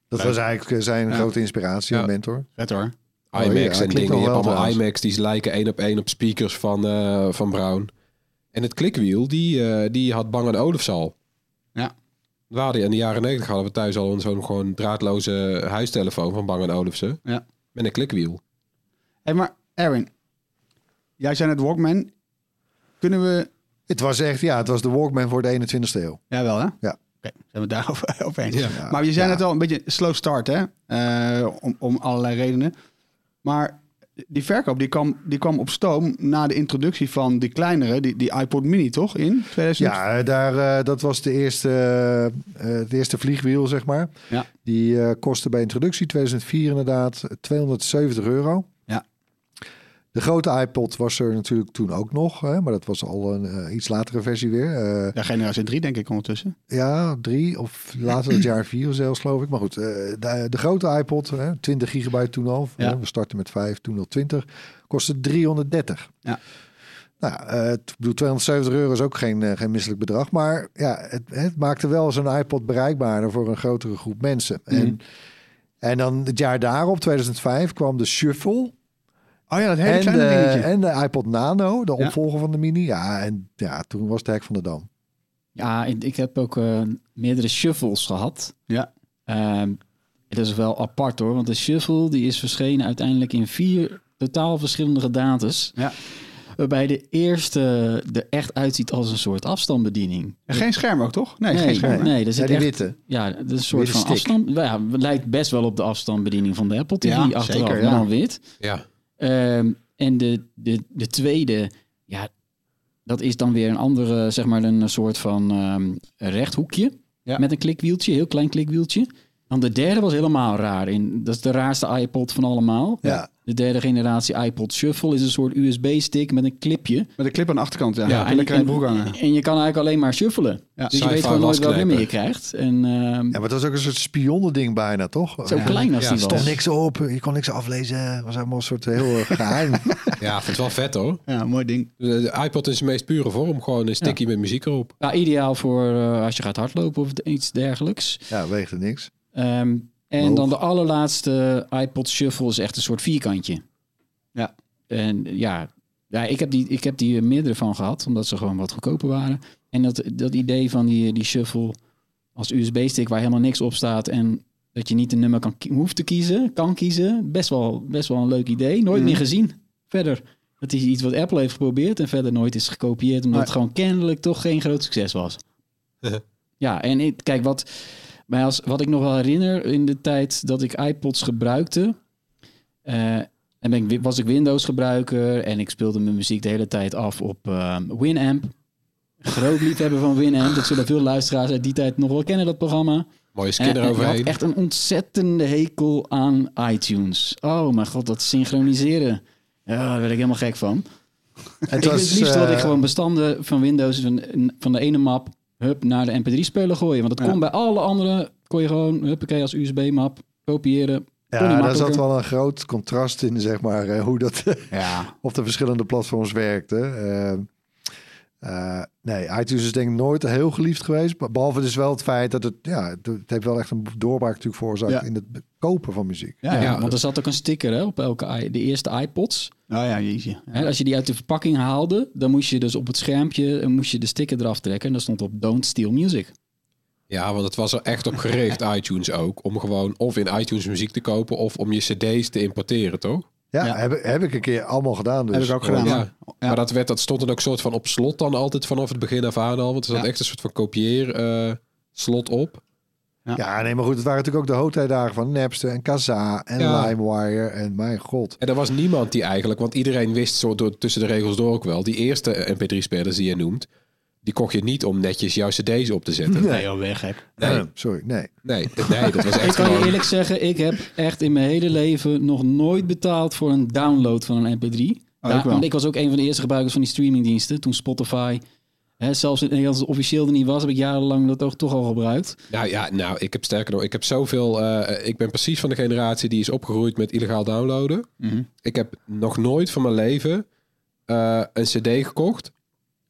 B: Dat was eigenlijk eh, zijn
C: Ja.
B: grote inspiratie en mentor.
D: Vet hoor.
B: Oh, ja,
C: IMAX en
B: klinkt
C: dingen.
B: nog
C: Je hebt
B: wel
C: allemaal
B: trouwens.
C: IMAX, die lijken één op één op speakers van, eh, van Brown. En het klikwiel, die, eh, die had Bang Olufsen al.
D: Ja.
C: We hadden in de jaren negentig hadden we thuis al een zo'n gewoon draadloze huistelefoon van Bang Olufsen.
A: Ja.
C: Met een klikwiel.
A: Hé, maar Erwin, jij zei net Walkman. Kunnen we...
B: Het was echt, ja, het was de Walkman voor de 21ste eeuw.
A: Jawel, hè? Oké,
B: Ja.
A: zijn we daarover over eens.
B: Ja.
A: Maar je zei net al een beetje slow start, hè? Eh, om, om allerlei redenen. Maar die verkoop die kwam, die kwam op stoom na de introductie van die kleinere, die, die iPod Mini, toch? In 2000?
B: Ja, eh, daar, eh, dat was de eerste, eh, eh, het eerste vliegwiel, zeg maar.
A: Ja.
B: Die eh, kostte bij introductie 2004 inderdaad 270 euro.
A: Ja.
B: De grote iPod was er natuurlijk toen ook nog, hè, maar dat was al een eh, iets latere versie weer. Eh,
A: Ja, generatie 3 denk ik ondertussen.
B: ja, drie of later het jaar vier zelfs, geloof ik. Maar goed, eh, de, de grote iPod, hè, 20 gigabyte toen al.
A: Ja.
B: hè, we starten met 5, toen al 20. Kostte 330.
A: Ja.
B: Nou, eh, t- ik bedoel, 270 euro is ook geen, eh, geen misselijk bedrag. Maar ja, het, het maakte wel zo'n iPod bereikbaarder voor een grotere groep mensen.
A: Mhm.
B: En, en dan het jaar daarop, 2005, kwam de Shuffle.
A: Oh ja, dat hele
B: en
A: kleine
B: de,
A: dingetje.
B: En de iPod Nano, de
D: Ja.
B: opvolger van de Mini. Ja, en ja, toen was het hek van de dam.
D: Ja, ik, ik heb ook eh, meerdere shuffles gehad.
A: Ja.
D: Ehm, het is wel apart hoor, want de shuffle die is verschenen uiteindelijk in vier totaal verschillende gedates.
A: Ja.
D: Waarbij de eerste er echt uitziet als een soort afstandsbediening.
A: En geen scherm ook, toch? Nee, geen
D: nee,
A: scherm.
D: nee, er zit
A: die
D: echt-
A: witte.
D: Ja, dat is een soort
A: Witte
D: van
A: stick.
D: afstand. Ja, het lijkt best wel op de afstandsbediening van de Apple TV
A: Ja,
D: achteraf,
A: zeker, ja.
D: maar dan wit.
C: Ja.
D: Ehm, en de, de, de tweede, ja, dat is dan weer een andere, zeg maar een soort van ehm, rechthoekje met een klikwieltje, heel klein klikwieltje. Dan de derde was helemaal raar. In, dat is de raarste iPod van allemaal.
B: Ja.
D: De derde generatie iPod Shuffle is een soort USB-stick met een clipje.
A: Met een clip aan de achterkant, ja. Lekker in de broek hangen.
D: En je kan eigenlijk alleen maar shuffelen.
A: Ja.
D: Dus je
A: Sci-fi
D: weet gewoon nooit welk
A: wasknijper.
D: nummer je krijgt. En, ehm,
B: Ja, maar het was ook een soort spionnending bijna, toch?
D: Zo klein als
B: ja.
D: die
B: Er
D: was.
B: stond niks op, je kon niks aflezen. Het was allemaal een soort heel eh, geheim.
C: Ja, ik vind het wel vet hoor.
A: Ja, mooi ding.
C: De, de iPod is de meest pure vorm. Gewoon een stickie met muziek erop.
D: ja, ideaal voor eh, als je gaat hardlopen of iets dergelijks.
B: ja, weegde niks.
D: Ehm, en
B: Hoog.
D: dan de allerlaatste iPod Shuffle is echt een soort vierkantje.
A: Ja.
D: En ja, ja ik, heb die, ik heb die eh, meerdere van gehad, omdat ze gewoon wat goedkoper waren. En dat, dat idee van die, die Shuffle als USB-stick waar helemaal niks op staat en dat je niet een nummer kan, ki- hoeft te kiezen, kan kiezen, best wel, best wel een leuk idee. Nooit meer gezien verder. Dat is iets wat Apple heeft geprobeerd en verder nooit is gekopieerd, omdat
A: Maar-
D: het gewoon kennelijk toch geen groot succes was. Ja, en ik, kijk, wat, mij als, wat ik nog wel herinner in de tijd dat ik iPods gebruikte. eh, en ben ik, wi- was ik Windows-gebruiker en ik speelde mijn muziek de hele tijd af op eh, Winamp. Groot liefhebber van Winamp. Dat zullen veel luisteraars uit die tijd nog wel kennen, dat programma.
C: Mooie
D: En-
C: skin
D: en ik
C: eroverheen.
D: had echt een ontzettende hekel aan iTunes. Oh mijn god, dat synchroniseren. Ja, daar werd ik helemaal gek van.
B: Het
D: ik
B: was,
D: het liefst wilde ik
B: eh,
D: gewoon bestanden van Windows van, van de ene map hup, naar de mp3-speler gooien. Want dat kon bij alle andere, kon je gewoon huppakee als USB-map kopiëren. Kon niet
B: Ja, daar zat
D: makkelijker.
B: wel een groot contrast in, zeg maar, eh, hoe dat op de verschillende platforms werkte. Eh, eh, nee, iTunes is denk ik nooit heel geliefd geweest. be- Behalve dus wel het feit dat het, ja, het- het heeft wel echt een doorbraak natuurlijk veroorzaakt
D: Ja.
B: in het be- kopen van muziek.
D: Ja, want er zat ook een sticker hè, op elke i- de eerste iPods.
A: Oh ja, jeetje.
D: Hè, als je die uit de verpakking haalde, dan moest je dus op het schermpje en moest je de sticker eraf trekken. En daar stond op Don't Steal Music.
C: Ja, want het was er echt op gericht, iTunes ook. Om gewoon of in iTunes muziek te kopen of om je cd's te importeren, toch?
B: Ja, Heb, ik- heb ik een keer allemaal gedaan. Dus.
C: Ja. Maar dat, werd, dat stond dan ook soort van op slot dan altijd vanaf het begin af aan al. Want er zat echt een soort van kopieer eh, slot op.
B: Ja. nee, maar goed. Het waren natuurlijk ook de hoogtijdagen van Napster en Kazaa en
C: Ja.
B: LimeWire. En mijn god.
C: En er was niemand die eigenlijk, want iedereen wist zo door, tussen de regels door ook wel, die eerste MP3-spelers die je noemt, die kocht je niet om netjes jouw CD's op te zetten.
B: Nee. Nee,
D: joh, weg
A: Oh,
D: heb.
C: Nee.
B: Sorry, nee.
C: Nee, d- nee, dat was
D: ik
C: echt
D: kan je
C: gewoon...
D: eerlijk zeggen, ik heb echt in mijn hele leven nog nooit betaald voor een download van een MP3.
A: Oh, ik wel.
D: want ik was ook een van de eerste gebruikers van die streamingdiensten. Toen Spotify, hè, zelfs in Nederland officieel er niet was, heb ik jarenlang dat ook toch al gebruikt.
C: Nou ja, nou, ik heb sterker nog, ik heb zoveel... eh, ik ben precies van de generatie die is opgegroeid met illegaal downloaden.
D: Mhm.
C: Ik heb nog nooit van mijn leven eh, een CD gekocht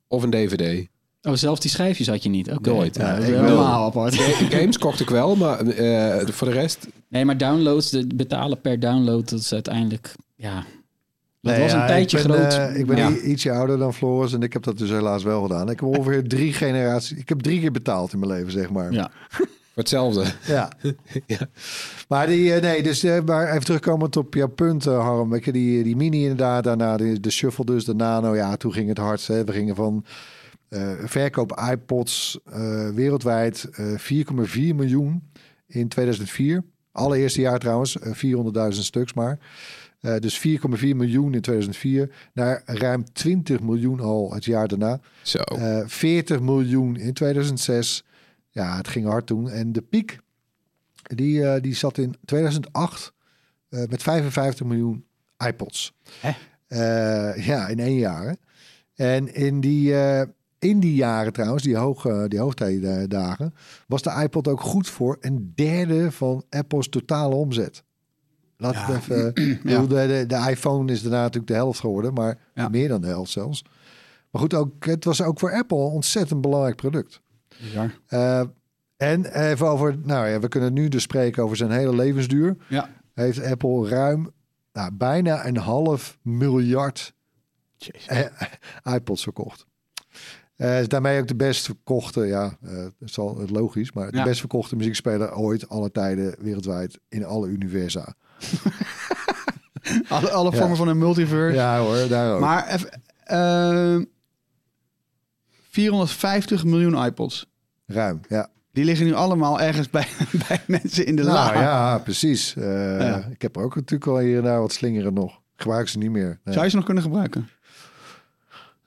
C: of een DVD.
D: Oh, zelfs die schijfjes had je niet? Oké.
C: Nooit.
D: Ja, dat is helemaal apart.
C: Eh, Games kocht ik wel, maar eh, voor de rest...
D: Nee, maar downloads, de betalen per download, dat is uiteindelijk, ja... Dat
B: Nee,
D: was
B: ja,
D: een tijdje
B: ik ben,
D: groot.
B: eh, ik ben
D: Ja.
B: i- ietsje ouder dan Floris en ik heb dat dus helaas wel gedaan. Ik heb ongeveer drie generaties. Ik heb drie keer betaald in mijn leven, zeg maar.
D: Ja.
C: Hetzelfde.
B: Ja. Maar die, eh, nee, dus eh, maar even terugkomend op jouw punt, eh, Harm. Weet je, die, die mini inderdaad, daarna de, de shuffle dus, de nano. Ja, toen ging het hardst. Hè. We gingen van eh, verkoop iPods eh, wereldwijd eh, 4,4 miljoen in 2004. Allereerste jaar trouwens, eh, 400.000 stuks maar. Eh, dus 4,4 miljoen in 2004 naar ruim 20 miljoen al het jaar daarna.
C: Zo.
B: 40 Eh, miljoen in 2006. Ja, het ging hard toen. En de piek die, eh, die zat in 2008 eh, met 55 miljoen iPods. Eh, ja, in één jaar. hè. En in die, eh, in die jaren trouwens, die, hoog, eh, die hoogtijdagen, was de iPod ook goed voor een derde van Apple's totale omzet. Laat het even. eh, ik bedoel, de, de, de iPhone is daarna natuurlijk de helft geworden, maar meer dan de helft zelfs. Maar goed, ook, het was ook voor Apple een ontzettend belangrijk product. Eh, en even over, nou ja, we kunnen nu dus spreken over zijn hele levensduur.
A: Ja.
B: Heeft Apple ruim, nou, bijna een half miljard eh, iPods verkocht. Eh, is daarmee ook de best verkochte, ja, eh, dat is al logisch, maar de
A: Ja.
B: best verkochte muziekspeler ooit, alle tijden, wereldwijd, in alle universa.
A: Alle, alle
B: Ja.
A: vormen van een multiverse.
B: Ja hoor, daar ook.
A: Maar even, eh, 450 miljoen iPods.
B: Ruim, ja.
A: Die liggen nu allemaal ergens bij, bij mensen in de
B: nou
A: la.
B: ja, precies. Eh,
A: Ja.
B: Ik heb er ook natuurlijk al hier en daar wat slingeren nog. Ik Gebruik ze niet meer. Nee.
A: Zou je ze nog kunnen gebruiken?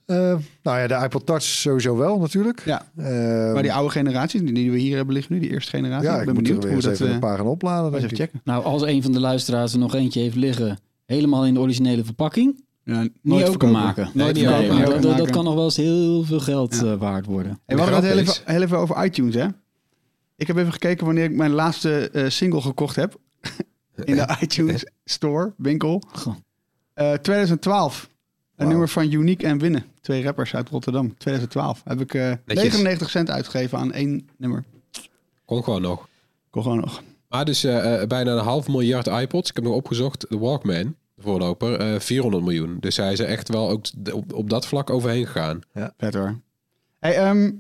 B: Eh, nou ja, de iPod Touch sowieso wel natuurlijk.
A: Ja.
B: Eh,
A: maar die oude generatie, die, die we hier hebben liggen nu, die eerste generatie.
B: ja,
A: ik
B: ik
A: ben
B: moet
A: benieuwd
B: er weer
A: hoe
B: eens
A: dat...
B: even
A: eh,
B: een paar gaan opladen.
A: eens
B: Denk
A: even
B: ik.
A: checken.
D: Nou, als een van de luisteraars er nog eentje heeft liggen, helemaal in de originele verpakking,
A: Ja,
D: niet
A: nooit
D: open
A: verkopen.
D: maken.
A: Nee, niet
D: Nee,
A: openmaken.
D: maar dat- dat, dat
A: Maken.
D: kan nog wel eens heel veel geld eh, waard worden.
A: Hey, we hadden het heel
C: Grap
A: even, heel even over iTunes, hè? Ik heb even gekeken wanneer ik mijn laatste eh, single gekocht heb. In de iTunes Store, winkel.
D: Goh.
A: Eh, 2012. Een nummer van Unique en Winnen. Twee rappers uit Rotterdam. 2012. Heb ik eh, 99 cent uitgegeven aan één nummer.
C: Kon gewoon nog.
A: Kon gewoon nog.
C: Maar dus eh, eh, bijna een half miljard iPods. Ik heb nog opgezocht, de Walkman, de voorloper, eh 400 miljoen. Dus hij is er echt wel ook d- op, op dat vlak overheen gegaan.
B: Dus
A: Vet hoor. Hey, ehm,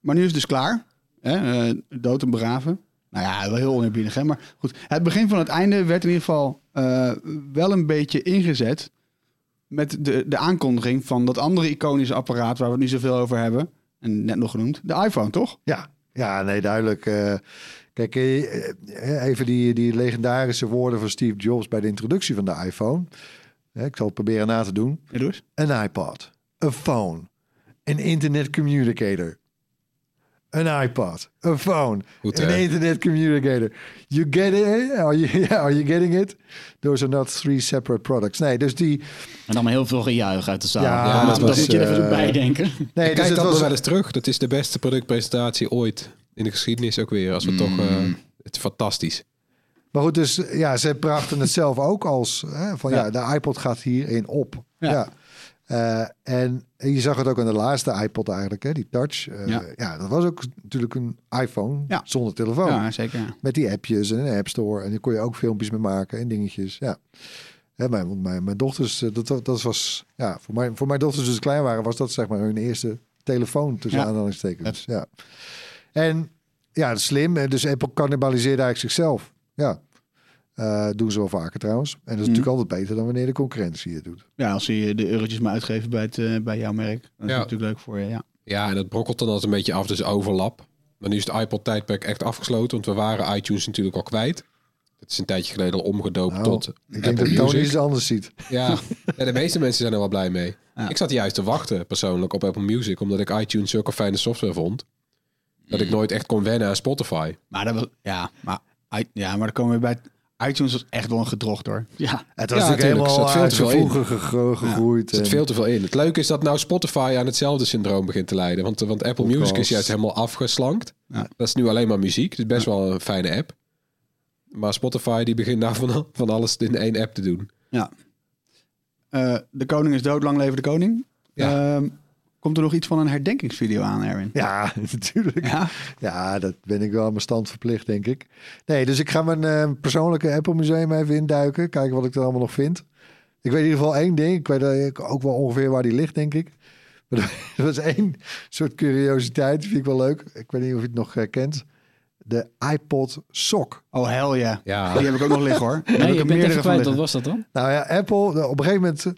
A: maar nu is het dus klaar. Hè? eh, dood en begraven. Nou ja, wel heel oneerbiedig, hè? Maar goed, het begin van het einde werd in ieder geval eh, wel een beetje ingezet... met de, de aankondiging van dat andere iconische apparaat... waar we het nu zoveel over hebben. En net nog genoemd, de iPhone, toch?
B: Ja, ja nee, duidelijk. eh, kijk, eh, eh, even die, die legendarische woorden van Steve Jobs bij de introductie van de iPhone. Eh, Ik zal het proberen na te doen.
A: Ja, doe eens.
B: Een iPod, een phone, een internet communicator. Een iPod, een phone,
C: Goed,
B: een
C: hè?
B: internet communicator. You get it? eh? Are you, yeah, are you getting it? Those are not three separate products. Nee, dus die...
D: En dan maar heel veel gejuich uit de zaal.
B: Ja,
D: Ja,
B: dat
D: dat
B: was,
D: moet je er even
B: eh,
D: bij denken.
B: Nee,
C: Kijk dat
B: dus het
C: nog
B: was-
C: wel eens terug. Dat is de beste productpresentatie ooit in de geschiedenis ook weer. Als we toch... eh,
B: Mm.
C: het is fantastisch.
B: Maar goed, dus ja, ze brachten het zelf ook als hè, van ja. de iPod gaat hierin op. Ja. Eh, en je zag het ook aan de laatste iPod eigenlijk, hè, die Touch. Eh, ja.
A: Ja.
B: dat was ook natuurlijk een iPhone
A: Ja.
B: zonder telefoon.
A: Ja, zeker. ja.
B: Met die appjes en een App Store. En daar kon je ook filmpjes mee maken en dingetjes. Ja. Hè, mijn, want mijn, mijn dochters, eh, dat, dat dat was ja, voor, mijn, voor mijn dochters, toen ze klein waren, was dat zeg maar hun eerste telefoon tussen
A: Ja.
B: aanhalingstekens. Ja. En ja, dat is slim. Eh, Dus Apple cannibaliseerde eigenlijk zichzelf. Ja. Eh, doen ze wel vaker trouwens. En dat is
A: Mhm.
B: natuurlijk altijd beter dan wanneer de concurrentie het doet.
A: Ja, als ze je de eurotjes maar uitgeven bij, het, eh, bij jouw merk. Dat is
C: Ja.
A: natuurlijk leuk voor je, ja.
C: Ja, en dat brokkelt dan altijd een beetje af, dus overlap. Maar nu is het iPod-tijdperk echt afgesloten, want we waren iTunes natuurlijk al kwijt. Dat is een tijdje geleden al omgedoopt
B: Nou,
C: tot eh,
B: Ik denk
C: Apple
B: dat Tony
C: Music.
B: iets anders ziet.
C: Ja, en de meeste mensen zijn er wel blij mee. Ik zat juist te wachten persoonlijk op Apple Music, omdat ik iTunes zulke fijne software vond. Dat ik nooit echt kon wennen aan Spotify.
A: Maar, dat was, ja, maar, i- ja, maar dan komen we bij... iTunes was echt wel een gedrocht, hoor.
D: Ja,
B: Het was natuurlijk
C: tuurlijk,
B: helemaal eh,
C: er zat
A: eh,
C: veel te veel in.
B: vroeger gegroeid.
C: Er zit
B: en-
C: veel te veel in. Het leuke is dat nou Spotify aan hetzelfde syndroom begint te lijden. Want, want Apple Music is
B: Podcast.
C: juist helemaal afgeslankt.
A: Ja.
C: Dat is nu alleen maar muziek. Het is best wel een fijne app. Maar Spotify die begint nou van, van alles in één app te doen.
A: Ja. Eh, de koning is dood, lang leven de koning. Ehm, komt er nog iets van een herdenkingsvideo aan, Erwin?
B: Ja, natuurlijk.
A: Ja?
B: Ja? dat ben ik wel aan mijn stand verplicht, denk ik. Nee, dus ik ga mijn eh, persoonlijke Apple Museum even induiken. Kijken wat ik er allemaal nog vind. Ik weet in ieder geval één ding. Ik weet eigenlijk ook wel ongeveer waar die ligt, denk ik. Maar er was één soort curiositeit. Vind ik wel leuk. Ik weet niet of je het nog herkent. De iPod Sock.
A: Oh, hell ja.
C: Ja.
A: Die heb ik ook nog liggen, hoor. Daar heb
D: Nee,
A: ik
D: ik
A: er
D: ben het
A: meerdere van
D: even kwijt. Wat
A: liggen.
D: was dat dan?
B: Nou ja, Apple, de- op een gegeven moment, eh,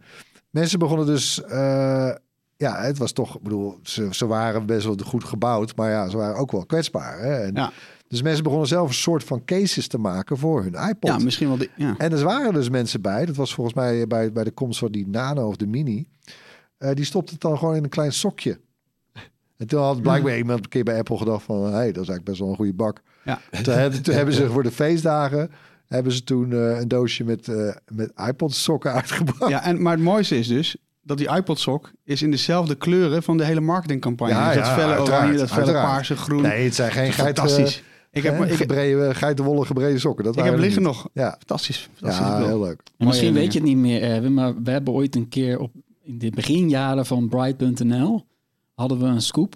B: mensen begonnen dus, eh, ja, het was toch, ik bedoel, ze, ze waren best wel goed gebouwd, maar ja, ze waren ook wel kwetsbaar. Hè? En
A: Ja.
B: Dus mensen begonnen zelf een soort van cases te maken voor hun iPod.
A: Ja, misschien wel... die- ja.
B: En er waren dus mensen bij, dat was volgens mij eh, bij, bij de komst van die Nano of de Mini, eh, die stopte het dan gewoon in een klein sokje. En toen had blijkbaar iemand een keer bij Apple gedacht van... hé, hey, dat is eigenlijk best wel een goede bak.
A: Ja.
B: Toen hebben, toen hebben ze voor de feestdagen hebben ze toen eh, een doosje met, eh, met iPod sokken uitgebracht.
A: Ja, en, maar het mooiste is dus dat die iPod sok is in dezelfde kleuren van de hele marketingcampagne.
B: Ja,
A: dus dat
B: ja,
A: felle
B: uiteraard,
A: oranje, dat felle
B: uiteraard.
A: paarse, groen.
B: Nee, het zijn geen geit,
A: Fantastisch.
B: eh,
A: ik heb,
B: hè,
A: ik, ik
B: gebrede, geitenwolle gebreden sokken. Dat
A: heb
B: waren er
A: liggen
B: niet.
A: nog.
B: Ja,
A: Fantastisch. fantastisch
B: ja
A: spul.
B: heel leuk.
D: En misschien
A: Mooie
D: weet je het niet meer, Erwin, maar we hebben ooit een keer op in de beginjaren van Bright.nl hadden we een scoop.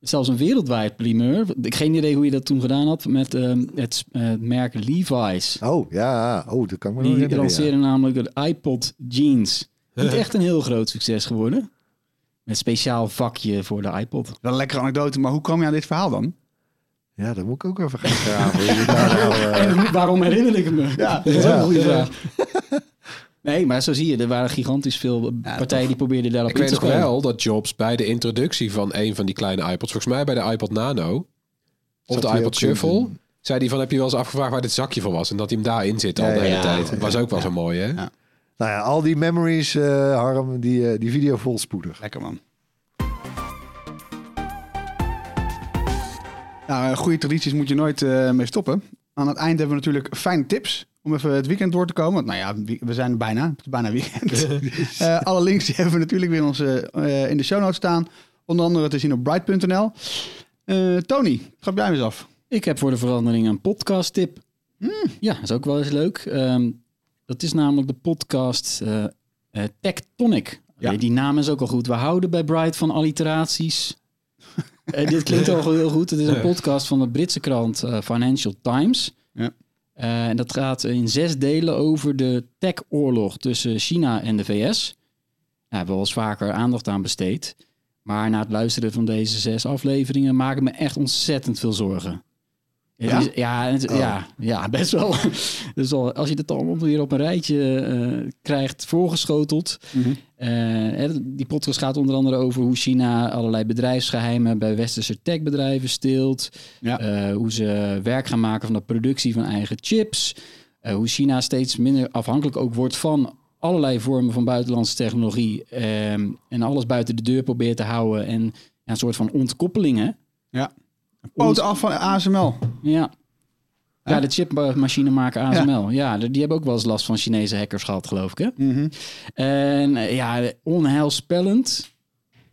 D: Zelfs een wereldwijd primeur. Ik geen idee hoe je dat toen gedaan had met ehm, het eh, merk Levi's.
B: Oh, ja. Oh, dat kan ik me nog
D: Die
B: herinneren, ja.
D: lanceren namelijk de iPod Jeans. Niet echt een heel groot succes geworden. Met speciaal vakje voor de iPod.
A: Wel een lekkere anekdote, maar hoe kwam je aan dit verhaal dan?
B: Ja, dat moet ik ook even gaan graven. Hoe je daar nou, eh,
D: Waarom herinner ik het me?
A: Ja.
D: Dat is ook een goede
B: Ja.
D: vraag. Nee, maar zo zie je, er waren gigantisch veel eh, partijen die probeerden daarop
C: Ik
D: in
C: weet
D: te
C: nog
D: spelen.
C: wel dat Jobs bij de introductie van een van die kleine iPods, volgens mij bij de iPod Nano of
B: Zat
C: de
B: hij
C: iPod
B: ook in?
C: Shuffle, zei hij van heb je wel eens afgevraagd waar dit zakje van was en dat hij hem daarin zit al
B: Ja,
C: de hele
B: ja,
C: tijd.
B: ja.
C: Dat was ook wel zo mooi hè?
B: nou ja, al die memories, eh, Harm, die, eh, die video vol spoedig.
A: Lekker man. Nou, eh, goede tradities moet je nooit eh, mee stoppen. Aan het eind hebben we natuurlijk fijne tips om even het weekend door te komen. Want nou ja, wie- we zijn er bijna. Het is bijna weekend. Eh, alle links die hebben we natuurlijk weer in, onze, eh, in de show notes staan. Onder andere te zien op bright.nl. Eh, Tony, grap jij hem eens af.
D: Ik heb voor de verandering een podcast tip.
A: Hmm.
D: Ja, is ook wel eens leuk. Ehm, dat is namelijk de podcast eh eh, Tectonic.
A: Ja.
D: Eh, Die naam is ook al goed. We houden bij Bright van alliteraties. Eh, dit klinkt al heel goed. Het is een podcast van de Britse krant eh, Financial Times.
A: Ja.
D: Eh, en dat gaat in zes delen over de tech-oorlog tussen China en de VS. Daar hebben we wel eens vaker aandacht aan besteed. Maar na het luisteren van deze zes afleveringen maak ik me echt ontzettend veel zorgen. Het
A: Ja?
D: is- ja, het-
B: Oh.
D: ja, ja, best wel. dus al, als je dat allemaal weer op een rijtje eh, krijgt voorgeschoteld. eh, hè, die podcast gaat onder andere over hoe China allerlei bedrijfsgeheimen bij westerse techbedrijven steelt.
A: Ja.
D: Eh, hoe ze werk gaan maken van de productie van eigen chips. Eh, hoe China steeds minder afhankelijk ook wordt van allerlei vormen van buitenlandse technologie. ehm, en alles buiten de deur probeert te houden. En ja, een soort van ontkoppelingen.
A: Poot af van ASML.
D: Ja. Ja, de chipmachine maken ASML. Ja. de- die hebben ook wel eens last van Chinese hackers gehad, geloof ik. Hè? En eh, ja, onheilspellend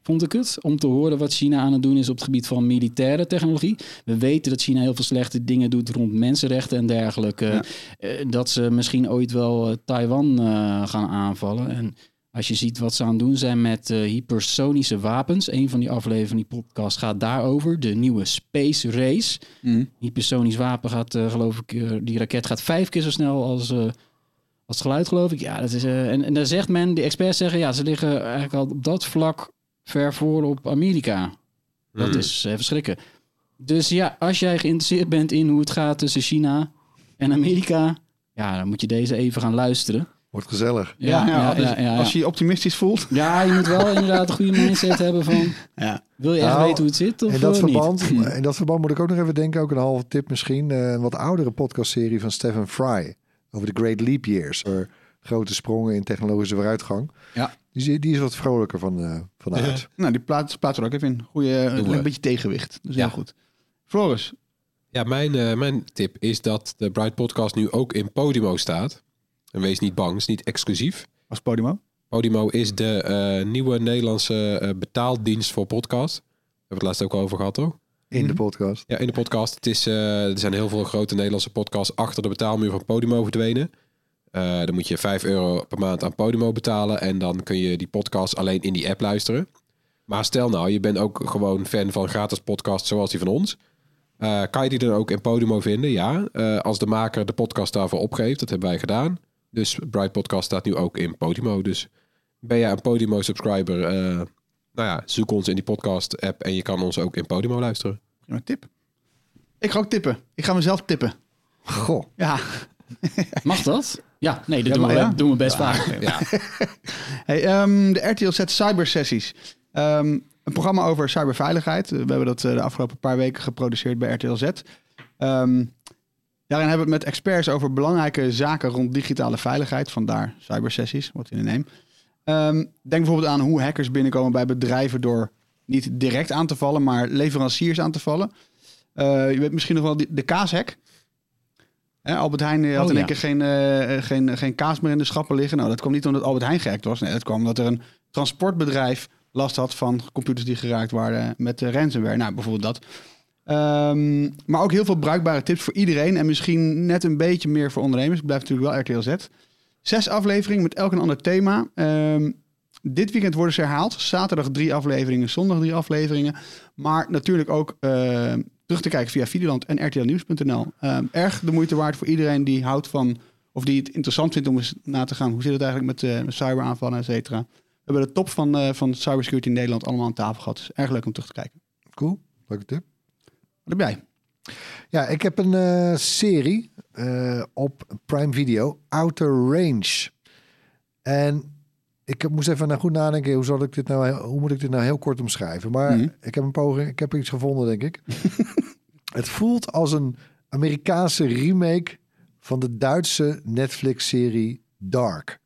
D: vond ik het om te horen wat China aan het doen is op het gebied van militaire technologie. We weten dat China heel veel slechte dingen doet rond mensenrechten en dergelijke. Eh, dat ze misschien ooit wel eh, Taiwan eh, gaan aanvallen. En als je ziet wat ze aan het doen zijn met eh, hypersonische wapens. Een van die afleveringen van die podcast gaat daarover. De nieuwe Space Race. Hypersonisch wapen gaat, eh, geloof ik, eh, die raket gaat vijf keer zo snel als, eh, als het geluid, geloof ik. Ja, dat is, eh, en, en daar zegt men, de experts zeggen, ja, ze liggen eigenlijk al op dat vlak ver voor op Amerika. Dat
C: Hmm.
D: is eh, verschrikken. Dus ja, als jij geïnteresseerd bent in hoe het gaat tussen China en Amerika, ja, Ja, dan moet je deze even gaan luisteren.
B: Wordt gezellig.
A: Ja, ja, dus als je je optimistisch voelt.
D: Ja, je moet wel inderdaad een goede mindset hebben van... Wil je echt
B: Nou,
D: weten hoe het zit of
B: in dat,
D: eh,
B: verband,
D: niet?
B: in dat verband moet ik ook nog even denken, ook een halve tip misschien, eh, een wat oudere podcastserie van Stephen Fry over de Great Leap Years. Over grote sprongen in technologische vooruitgang.
C: Ja.
B: Die, is- die is wat vrolijker van, eh vanuit.
A: Nou, die plaats, plaatsen we er ook even in. Goeie, eh,
C: Doen we.
A: een beetje tegenwicht. Dat is heel goed. Floris.
C: Ja, mijn, eh, mijn tip is dat de Bright Podcast nu ook in Podimo staat. En wees niet bang, het is niet exclusief.
A: Als Podimo?
C: Podimo is de eh, nieuwe Nederlandse eh, betaaldienst voor podcast. We hebben het laatst ook al over gehad, toch?
B: In
D: Mhm.
B: de podcast.
C: Ja, in de podcast. Het is, eh, er zijn heel veel grote Nederlandse podcasts achter de betaalmuur van Podimo verdwenen. Eh, dan moet je 5 euro per maand aan Podimo betalen. En dan kun je die podcast alleen in die app luisteren. Maar stel nou, je bent ook gewoon fan van gratis podcasts zoals die van ons. Eh, kan je die dan ook in Podimo vinden? Ja. Eh, als de maker de podcast daarvoor opgeeft, dat hebben wij gedaan. Dus Bright Podcast staat nu ook in Podimo. Dus ben jij een Podimo-subscriber? eh, nou ja, zoek ons in die podcast-app en je kan ons ook in Podimo luisteren.
A: Prima tip. Ik ga ook tippen. Ik ga mezelf tippen.
B: Goh.
A: Ja.
D: Mag dat? Ja, nee, dat
A: Ja,
D: doen,
A: maar
D: we,
A: ja.
D: doen we best
A: Ja.
D: vaak.
C: Ja.
A: Hey, ehm, de RTLZ Cybersessies. Ehm, een programma over cyberveiligheid. Eh, We hebben dat eh, de afgelopen paar weken geproduceerd bij RTLZ. Ehm, daarin hebben we het met experts over belangrijke zaken rond digitale veiligheid. Vandaar cybersessies, wat in de neem. Ehm, denk bijvoorbeeld aan hoe hackers binnenkomen bij bedrijven door niet direct aan te vallen, maar leveranciers aan te vallen. Eh, je weet misschien nog wel die- de kaashack. Hè, Albert Heijn eh, had
D: Oh,
A: in één
D: ja.
A: keer geen, eh, geen, geen kaas meer in de schappen liggen. Nou, dat kwam niet omdat Albert Heijn gehackt was. Nee, dat kwam omdat er een transportbedrijf last had van computers die geraakt waren met eh, ransomware. Nou, bijvoorbeeld dat. Ehm, maar ook heel veel bruikbare tips voor iedereen. En misschien net een beetje meer voor ondernemers. Het blijft natuurlijk wel RTLZ. Zes afleveringen met elk een ander thema. Ehm, dit weekend worden ze herhaald. Zaterdag drie afleveringen, zondag drie afleveringen. Maar natuurlijk ook eh, terug te kijken via Videoland en rtlnieuws.nl. Ehm, erg de moeite waard voor iedereen die houdt van... of die het interessant vindt om eens na te gaan... hoe zit het eigenlijk met, eh, met cyberaanvallen, et cetera. We hebben de top van, eh, van cybersecurity in Nederland allemaal aan tafel gehad. Dus erg leuk om terug te kijken.
B: Cool, leuke tip.
A: Wat heb jij?
B: Ja, ik heb een eh, serie eh, op Prime Video, Outer Range. En ik moest even naar goed nadenken, hoe, zal ik dit nou, hoe moet ik dit nou heel kort omschrijven? Maar
A: Mhm.
B: ik heb een poging, ik heb iets gevonden, denk ik. Het voelt als een Amerikaanse remake van de Duitse Netflix-serie Dark.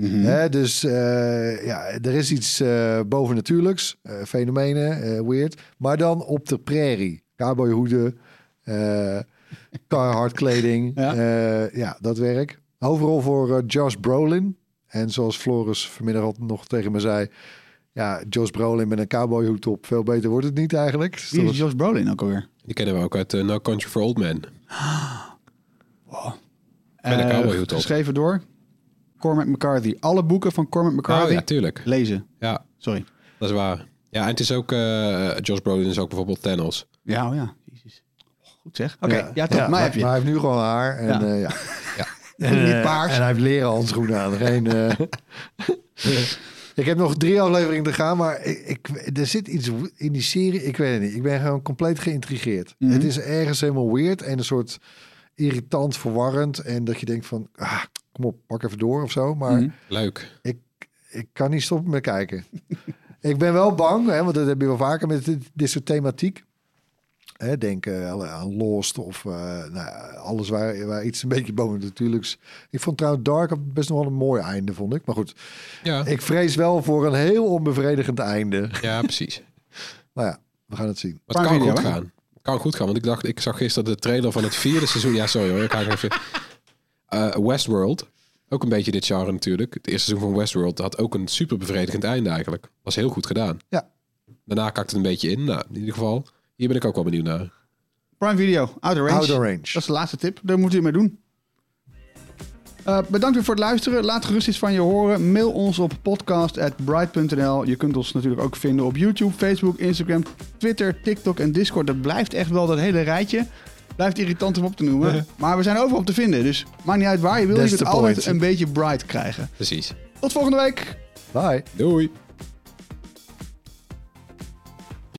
B: Hè, dus eh, ja, er is iets eh, bovennatuurlijks, eh, fenomenen, eh, weird. Maar dan op de prairie. Cowboyhoeden, eh Carhartt kleding. Ja. ja, dat werk. Overal voor eh, Josh Brolin. En zoals Floris vanmiddag al nog tegen me zei... Ja, Josh Brolin met een cowboyhoed op. Veel beter wordt het niet eigenlijk. Dus
A: Wie
B: dat
A: is
B: is-
A: Josh Brolin ook alweer?
C: Die kennen we ook uit eh, No Country for Old Men. Met een
A: Eh,
C: cowboyhoed op.
A: Geschreven door Cormac McCarthy. Alle boeken van Cormac
C: Oh
A: McCarthy
C: ja, tuurlijk.
A: lezen.
C: Ja,
A: Sorry.
C: dat is waar. Ja, en het is ook... eh Josh Brolin is ook bijvoorbeeld Thanos.
A: Ja, oh ja. Jezus. Goed zeg. Oké, ja, toch.
B: Ja,
A: maar heb je.
B: hij heeft nu gewoon haar. En,
A: Ja.
B: eh, ja.
C: Ja.
B: En,
A: Niet
B: eh,
A: paars.
B: En hij heeft leren handschoenen aan. Geen, eh, ik heb nog drie afleveringen te gaan, maar ik, ik- er zit iets in die serie. Ik weet het niet. Ik ben gewoon compleet geïntrigeerd.
A: Mhm.
B: Het is ergens helemaal weird en een soort irritant, verwarrend. En dat je denkt van, ah, kom op, pak even door of zo. Maar
A: Mhm.
C: Leuk.
B: ik, ik kan niet stoppen met kijken. ik ben wel bang, hè, want dat heb je wel vaker met dit, dit soort thematiek. Hè, denk eh, alle- aan Lost of eh, nou, ja, alles waar, waar iets een beetje boven natuurlijk. Ik vond trouwens Dark best nog wel een mooi einde, vond ik. Maar goed,
C: Ja,
B: ik vrees wel voor een heel onbevredigend einde.
C: ja precies.
B: Nou ja, we gaan het zien.
C: Maar het
A: Prime
C: kan
A: Video,
C: goed
A: hè?
C: gaan. Het kan goed gaan, want ik dacht, ik zag gisteren de trailer van het vierde seizoen. Ja, sorry hoor, ik ga even... Eh, Westworld, ook een beetje dit genre natuurlijk. Het eerste seizoen van Westworld had ook een super bevredigend einde eigenlijk. Was heel goed gedaan.
B: Ja.
C: Daarna kakt het een beetje in. Nou, in ieder geval, hier ben ik ook wel benieuwd naar.
A: Prime Video, Outer Range.
B: Outer Range.
A: Dat is de laatste tip. Daar moet u mee doen. Eh, bedankt weer voor het luisteren. Laat gerust iets van je horen. Mail ons op podcast.bright.nl. Je kunt ons natuurlijk ook vinden op YouTube, Facebook, Instagram, Twitter, TikTok en Discord. Dat blijft echt wel dat hele rijtje. Blijft irritant om op te noemen. Maar we zijn overal op te vinden. Dus maakt niet uit waar je wil. Je
B: That's
A: kunt
B: the
A: altijd
B: point.
A: een beetje bright krijgen.
C: Precies.
A: Tot volgende week.
B: Bye.
C: Doei.